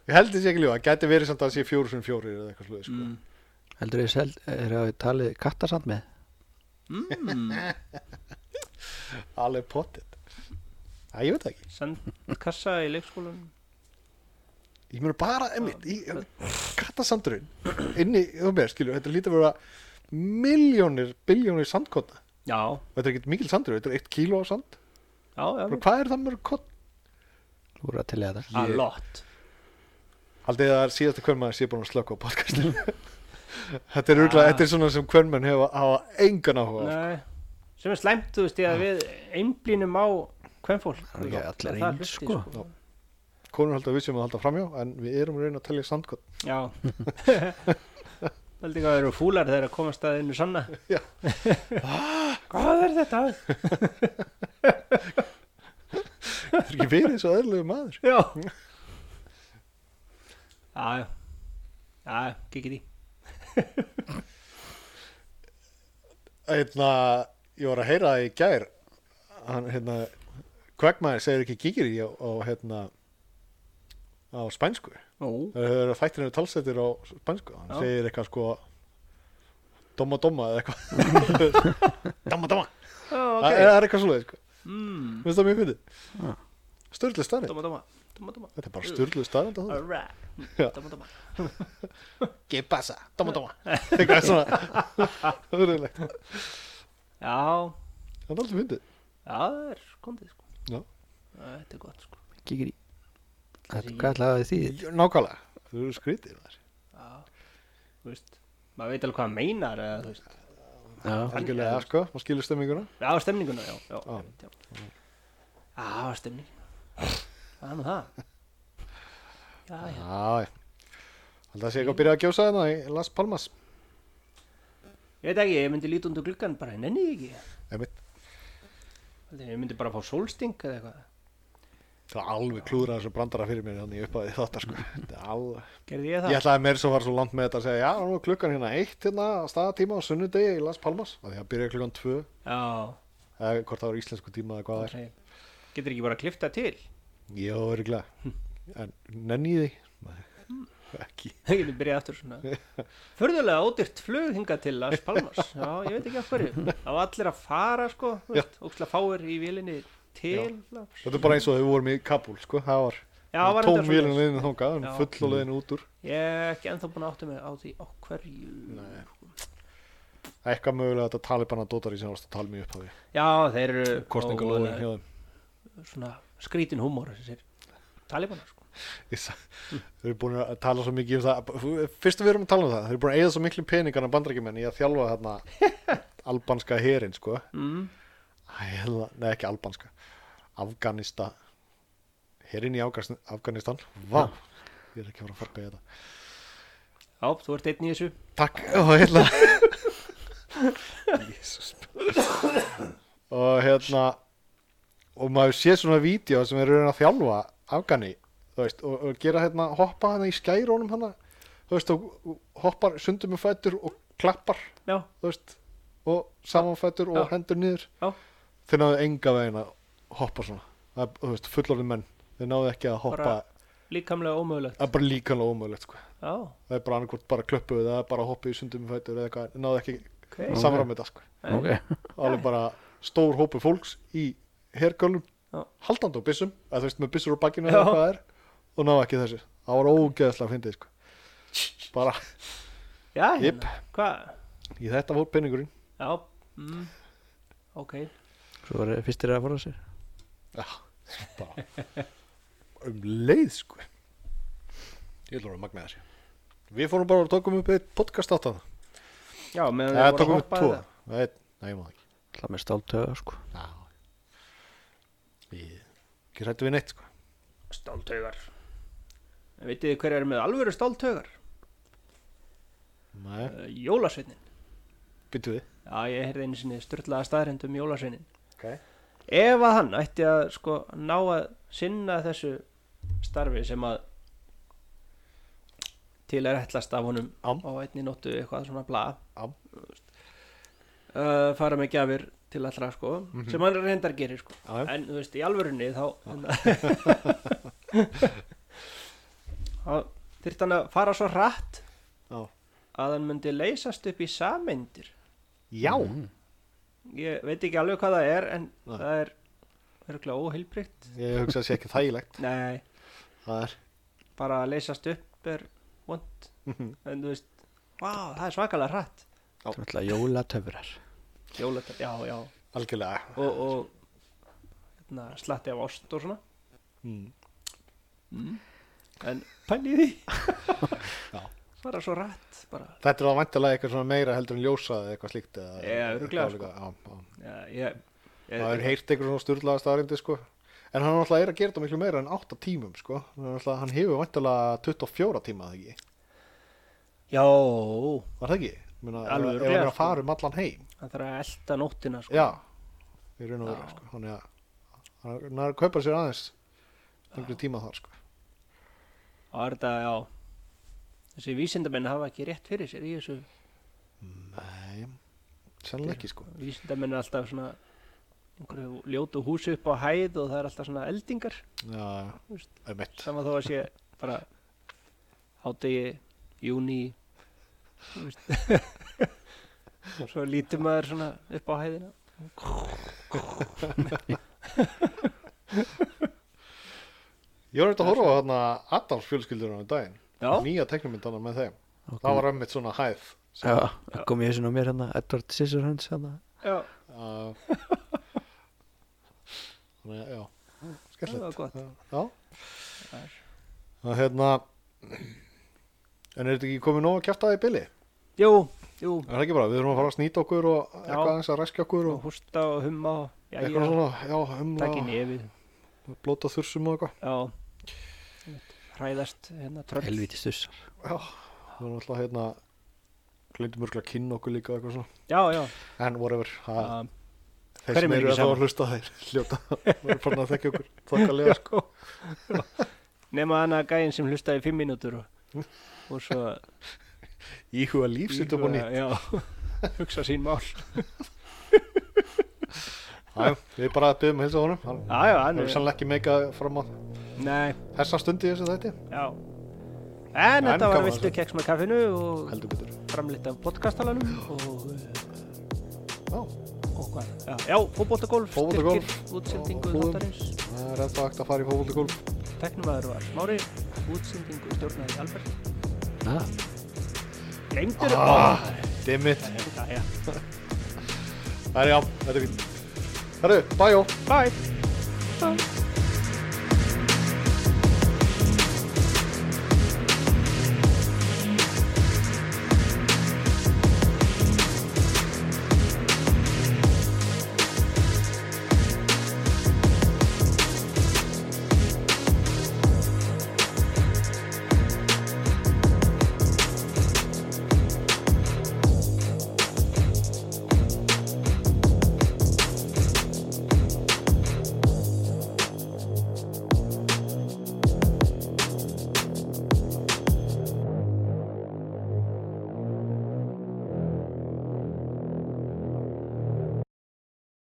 Speaker 1: ég held þessi ekki lífa, það gæti verið samt að það sé fjóru sem fjórir eða eitthvað sluði sko.
Speaker 2: mm.
Speaker 3: Heldur þið seld, er það talið kattasand með?
Speaker 2: Mm.
Speaker 1: alveg pottet það ég veit það ekki,
Speaker 2: Sandkassa í leikskólanum
Speaker 1: ég mjög bara emitt,
Speaker 2: Mm.
Speaker 1: í, kattasandurinn inni, þú með skilju, þetta lítur að vera miljónir, biljónir sandkotna
Speaker 2: Já,
Speaker 1: þetta er ekkert mikil sandur, þetta er eitt kíló á sand
Speaker 2: já, já
Speaker 1: Bara hvað er það mörg kott
Speaker 3: Þú eru að telja þetta
Speaker 2: A lot
Speaker 1: Haldið það er síðasta kvörmaður sé búin að slökka á podcastinu Þetta er örgulega,
Speaker 2: Mm. Ah.
Speaker 1: þetta er svona sem kvörmenn hefa hafa engan áhuga á.
Speaker 2: Nei, sem er slæmt, þú veist, ég að við einblínum á kvenfólk
Speaker 3: Það eru ekki allir
Speaker 2: Það er hluti,
Speaker 3: eins sko
Speaker 2: sko.
Speaker 1: Konur halda við sem að halda framjá en við erum að reyna að telja sandkott
Speaker 2: Já Veldi hvað eru fúlar þegar að komast að innu sanna
Speaker 1: Já.
Speaker 2: Hvað er þetta?
Speaker 1: Þetta er ekki verið svo eðlilegu maður
Speaker 2: Já Já, já Já, kikið í
Speaker 1: Hérna, ég var að heyra það í gær hann, hérna, kvegmaður segir ekki gíkir í á, á hérna á spænsku
Speaker 2: Ó,
Speaker 1: Það eru þættirinu talsettir á spænsku hann
Speaker 2: Já.
Speaker 1: segir eitthvað sko Doma doma eða eitthvað Doma doma
Speaker 2: Ó,
Speaker 1: okay.
Speaker 2: ok
Speaker 1: Það er eitthvað svoleið sko
Speaker 2: Mm,
Speaker 1: Mér finnst það mjög fyndið.
Speaker 3: Já.
Speaker 1: Sturlu staðrind.
Speaker 2: Dóma, dóma Dóma, dóma
Speaker 1: Þetta er bara sturlu staðrind á það.
Speaker 2: Alright Mm,
Speaker 1: Já.
Speaker 2: Dóma, dóma
Speaker 1: Ekki passa, doma doma. Eitthvað svona. Það er reyðilegt.
Speaker 2: Já,
Speaker 1: Það er aldrei fyndið.
Speaker 2: já, það er kondið sko
Speaker 1: Já.
Speaker 2: Þetta er gott sko
Speaker 3: Kíkir í Þetta, hvað ætlaði því?
Speaker 1: Jú, Nákvæmlega. Þú eru skrítið þar.
Speaker 2: Já, þú veist Maður veit alveg hvað hann meinar eða þú veist
Speaker 3: Já,
Speaker 1: Algjörlega, sko, maður skilur stemminguna.
Speaker 2: Já, stemninguna, já Já,
Speaker 1: Já.
Speaker 2: einmitt, já. já stemning Það er nú það Já, já,
Speaker 1: Já, já. Haldið að sé eitthvað að byrja að gjósa þarna í Las Palmas.
Speaker 2: ég veit ekki, ég myndi líta undir gluggan bara, ég nenni því ekki
Speaker 1: Einmitt.
Speaker 2: Haldið, Ég myndi bara fá sólsting eða eitthvað
Speaker 1: Það er alveg klúðrað þessu brandara fyrir mér hann í upphæði þáttar, sko. Þetta er alveg.
Speaker 2: Gerði ég það?
Speaker 1: Ég ætlaði meir svo að fara svo langt með þetta að segja, já, nú er klukkan hérna eitt hérna að staðatíma á sunnudegi í Las Palmas. Af því að byrja klukkan tvö,
Speaker 2: Já,
Speaker 1: eða hvort það var íslensku tíma eða hvað það er.
Speaker 2: ok Getur ekki bara að klifta til
Speaker 1: Jó, örgulega
Speaker 2: Hm.
Speaker 1: En nenni ég því? Nei, ekki
Speaker 2: Það getur byrjað aftur svona Förðulega ódýrt flug hingað til Las Palmas Já, ég veit ekki af hverju Það var allir að fara, sko þú
Speaker 1: Já.
Speaker 2: veist, Ókslega fáir í vélinni til Las-
Speaker 1: Þetta er bara eins og þegar við vorum í Kabul, sko Það var,
Speaker 2: Já, var
Speaker 1: tóm
Speaker 2: reyndar
Speaker 1: vélum
Speaker 2: svoleiðis.
Speaker 1: leiðin þangað en
Speaker 2: Já. Hm.
Speaker 1: full á leiðin út úr
Speaker 2: Ég er ekki ennþá búin að átta mig á því á hverju
Speaker 1: Það er Eitthvað mögulega þetta talibana dótar í sem varst að tala mjög upphafi
Speaker 2: Já, þeir eru
Speaker 1: Kostningalóðin hjá
Speaker 2: og,
Speaker 1: þeim
Speaker 2: uh, svona skrítin húmor þessir talibanar sko.
Speaker 1: Ég sa- Þau eru búin að tala svo mikið um það Fyrst við erum að tala um það Þau eru búin að eigða svo miklu peningar en bandarækjumenn í að þjálfa þarna albanska herin, sko
Speaker 2: mm.
Speaker 1: hérna, nei ekki albanska Afganista herinn í Afgas- Afganistan vá, ég er ekki að fara að fara beða þetta
Speaker 2: Já, þú ert einn í þessu
Speaker 1: takk, og hérna Jesus. og hérna og maður sé svona vídeo sem er raunin að þjálfa Afgani þú veist, og, og gera hérna hoppa hérna í skærónum hana þú veist, og, og hoppar sundum með fætur og klappar
Speaker 2: Já,
Speaker 1: þú veist, og samanfættur og
Speaker 2: Já.
Speaker 1: hendur niður
Speaker 2: Já.
Speaker 1: þeir náðu enga veginn að hoppa svona það, þú veist, fullorðin menn þeir náðu ekki að hoppa,
Speaker 2: Bara- líkamlega ómögulegt
Speaker 1: það er bara líkanlega ómögulegt sko.
Speaker 2: Já,
Speaker 1: það er bara annarkvort bara klöppuð eða bara hoppið í sundum í fætur eða eitthvað, þeir náðu ekki
Speaker 2: ok
Speaker 1: okay. samramið það sko.
Speaker 2: Nei.
Speaker 3: ok,
Speaker 1: alveg bara stór hópu fólks í hergölum,
Speaker 2: Já.
Speaker 1: haldandi á byssum eða þú veist, með byssur á bakkinu
Speaker 2: Já.
Speaker 1: eða hvað er og náðu ekki þessu, það var ógeðslega fyndið sko. bara,
Speaker 2: Já,
Speaker 1: jip,
Speaker 2: hérna, hvað
Speaker 1: í þetta fór penningurinn
Speaker 2: Já, mm, ok
Speaker 3: svo er fyrstir að fara sér
Speaker 1: Já, bara um leið sko Ég ætla að vera magna þessi Við fórum bara og tókum upp eitt podcast átt að
Speaker 2: Já, meðan
Speaker 1: það Nei,
Speaker 2: þeir voru að
Speaker 1: tókum upp
Speaker 2: hoppa
Speaker 1: tvo
Speaker 2: eða-
Speaker 1: Nei, nei, maður ekki
Speaker 3: alltaf með stáltöða sko
Speaker 1: Já Ég ekki rættu við neitt sko
Speaker 2: Stáltaugar En Vitið þið hver er með alvöru stáltaugar?
Speaker 1: Nei,
Speaker 2: Uh, Jólasveinin
Speaker 1: byttu við
Speaker 2: Já, ég heyrði einu sinni styrlaða staðrind um jólasveinin
Speaker 1: okay.
Speaker 2: Ef að hann ætti að sko ná að sinna þessu starfi sem að til er ætlast af honum
Speaker 1: Am.
Speaker 2: á einni nóttu eitthvað svona bla
Speaker 1: Am.
Speaker 2: uh, fara með gjafir til allra sko
Speaker 1: Mhm.
Speaker 2: sem hann reyndar gerir sko
Speaker 1: Já, já.
Speaker 2: en þú veist í alvörunni þá hérna, þá þyrfti hann að fara svo rætt
Speaker 1: Já,
Speaker 2: að hann myndi leysast upp í sameindir
Speaker 1: Já.
Speaker 2: Mm. ég veit ekki alveg hvað það er en
Speaker 1: Nei.
Speaker 2: það er örgulega óheilbrygt
Speaker 1: ég hugsa að sé ekki þægilegt
Speaker 2: nei,
Speaker 1: Það er
Speaker 2: bara að leysast upp er vond en þú veist, vá, það er svakalega rætt
Speaker 1: Já.
Speaker 3: það er alltaf jólatöfrar
Speaker 2: jólatar, já, já
Speaker 1: algjörlega
Speaker 2: og, og hérna, slatti af ást og svona
Speaker 1: mm.
Speaker 2: en pælið því
Speaker 1: Já.
Speaker 2: bara svo rætt bara.
Speaker 1: Þetta er það vantilega eitthvað svona meira heldur en ljósað eða eitthvað slíkt eða,
Speaker 2: Já, örugglega,
Speaker 1: eitthvað álíka. Já, já.
Speaker 2: Já, ég, ég,
Speaker 1: maður heyrt einhver svona styrlaða staðarindi sko. en hann náttúrulega er að gera þetta miklu meira en 8 tímum sko. hann, náttúrulega- hann hefur vantilega 24 tíma það ekki,
Speaker 2: já,
Speaker 1: var það ekki? Meina, ef- ef
Speaker 2: Alveg
Speaker 1: hann er
Speaker 2: örugglega,
Speaker 1: að
Speaker 2: sko.
Speaker 1: fara um allan heim
Speaker 2: hann þarf að elda nóttina sko.
Speaker 1: já, í raun og
Speaker 2: Já.
Speaker 1: vera sko. hann er að- hann er að kaupa sér aðeins einhverju tíma þar sko.
Speaker 2: og er þetta, já þessi vísindamenn hafa ekki rétt fyrir sér í þessu
Speaker 1: nei, sannlega ekki sko.
Speaker 2: vísindamenn er alltaf svona einhverju ljótu húsi upp á hæð og það er alltaf svona eldingar
Speaker 1: já,
Speaker 2: Þú veist.
Speaker 1: einmitt
Speaker 2: sama þó að sé bara hátegi, júni þú veist. svo lítur maður svona upp á hæðina
Speaker 1: ég var eftir að horfa á þarna Adams fjölskyldurinn á daginn
Speaker 2: já,
Speaker 1: nýja teknumyndana með þeim
Speaker 3: Ok.
Speaker 1: það var einmitt svona hæð
Speaker 3: já, það kom ég þessu ná mér hérna Edward Scissorhands hérna
Speaker 2: já,
Speaker 1: Já. uh, Þannig að, já,
Speaker 2: það
Speaker 1: skemmtilegt.
Speaker 2: var gott
Speaker 1: Já.
Speaker 2: Það er-
Speaker 1: Það er hérna, en er þetta ekki komið nóg að kjæfta það í bili?
Speaker 2: jú, jú,
Speaker 1: Er það ekki bara, við erum að fara að snýta okkur og eitthvað aðeins að ræskja okkur
Speaker 2: og
Speaker 1: og
Speaker 2: hústa og humma og já,
Speaker 1: eitthvað
Speaker 2: já,
Speaker 1: svona, já,
Speaker 2: takk í
Speaker 1: humla
Speaker 2: nefið
Speaker 1: og blóta þursum og eitthvað.
Speaker 2: já einmitt, hræðast hérna tröll
Speaker 3: helviti stussar
Speaker 1: Við erum alltaf hérna, glindum örgulega að kynna okkur líka og eitthvað svona.
Speaker 2: já, já,
Speaker 1: En whatever, það,
Speaker 2: já,
Speaker 1: þeir
Speaker 2: hverjum
Speaker 1: sem
Speaker 2: er
Speaker 1: eru að
Speaker 2: ekki
Speaker 1: það
Speaker 2: sama?
Speaker 1: að hlusta þeir, hljóta, við erum farin að þekki okkur, þokkalega sko.
Speaker 2: nema hana gæinn sem hlustaði í fimm mínútur og, og svo
Speaker 1: Íhuga lífsitt upp á nýtt.
Speaker 2: íhuga- já, hugsa sín mál
Speaker 1: Já, við bara byggum að hilsa honum, hann
Speaker 2: já, já,
Speaker 1: hann
Speaker 2: hann
Speaker 1: er
Speaker 2: er
Speaker 1: sannlega ekki meika fram á
Speaker 2: nei,
Speaker 1: þessa stundi í þessu þætti.
Speaker 2: já en
Speaker 1: En
Speaker 2: þetta var
Speaker 1: gaman
Speaker 2: viltu
Speaker 1: þessu.
Speaker 2: keks með kaffinu og
Speaker 1: heldur betur
Speaker 2: framleitt af podcastalanum og,
Speaker 1: Já,
Speaker 2: og hvað, já, já fótboltagolf
Speaker 1: Fótboltagólf.
Speaker 2: styrkir útsendingu
Speaker 1: Og- og-
Speaker 2: þáttarins
Speaker 1: það er ennþá hægt að fara í fókvöldugólf
Speaker 2: teknumaður var smári útsendingu stjórnaði Albert
Speaker 3: na,
Speaker 2: gleymdur
Speaker 1: Ah. Dimmit
Speaker 2: já, já,
Speaker 1: Það er já, þetta er fínt Herru, bæjó
Speaker 2: bye bye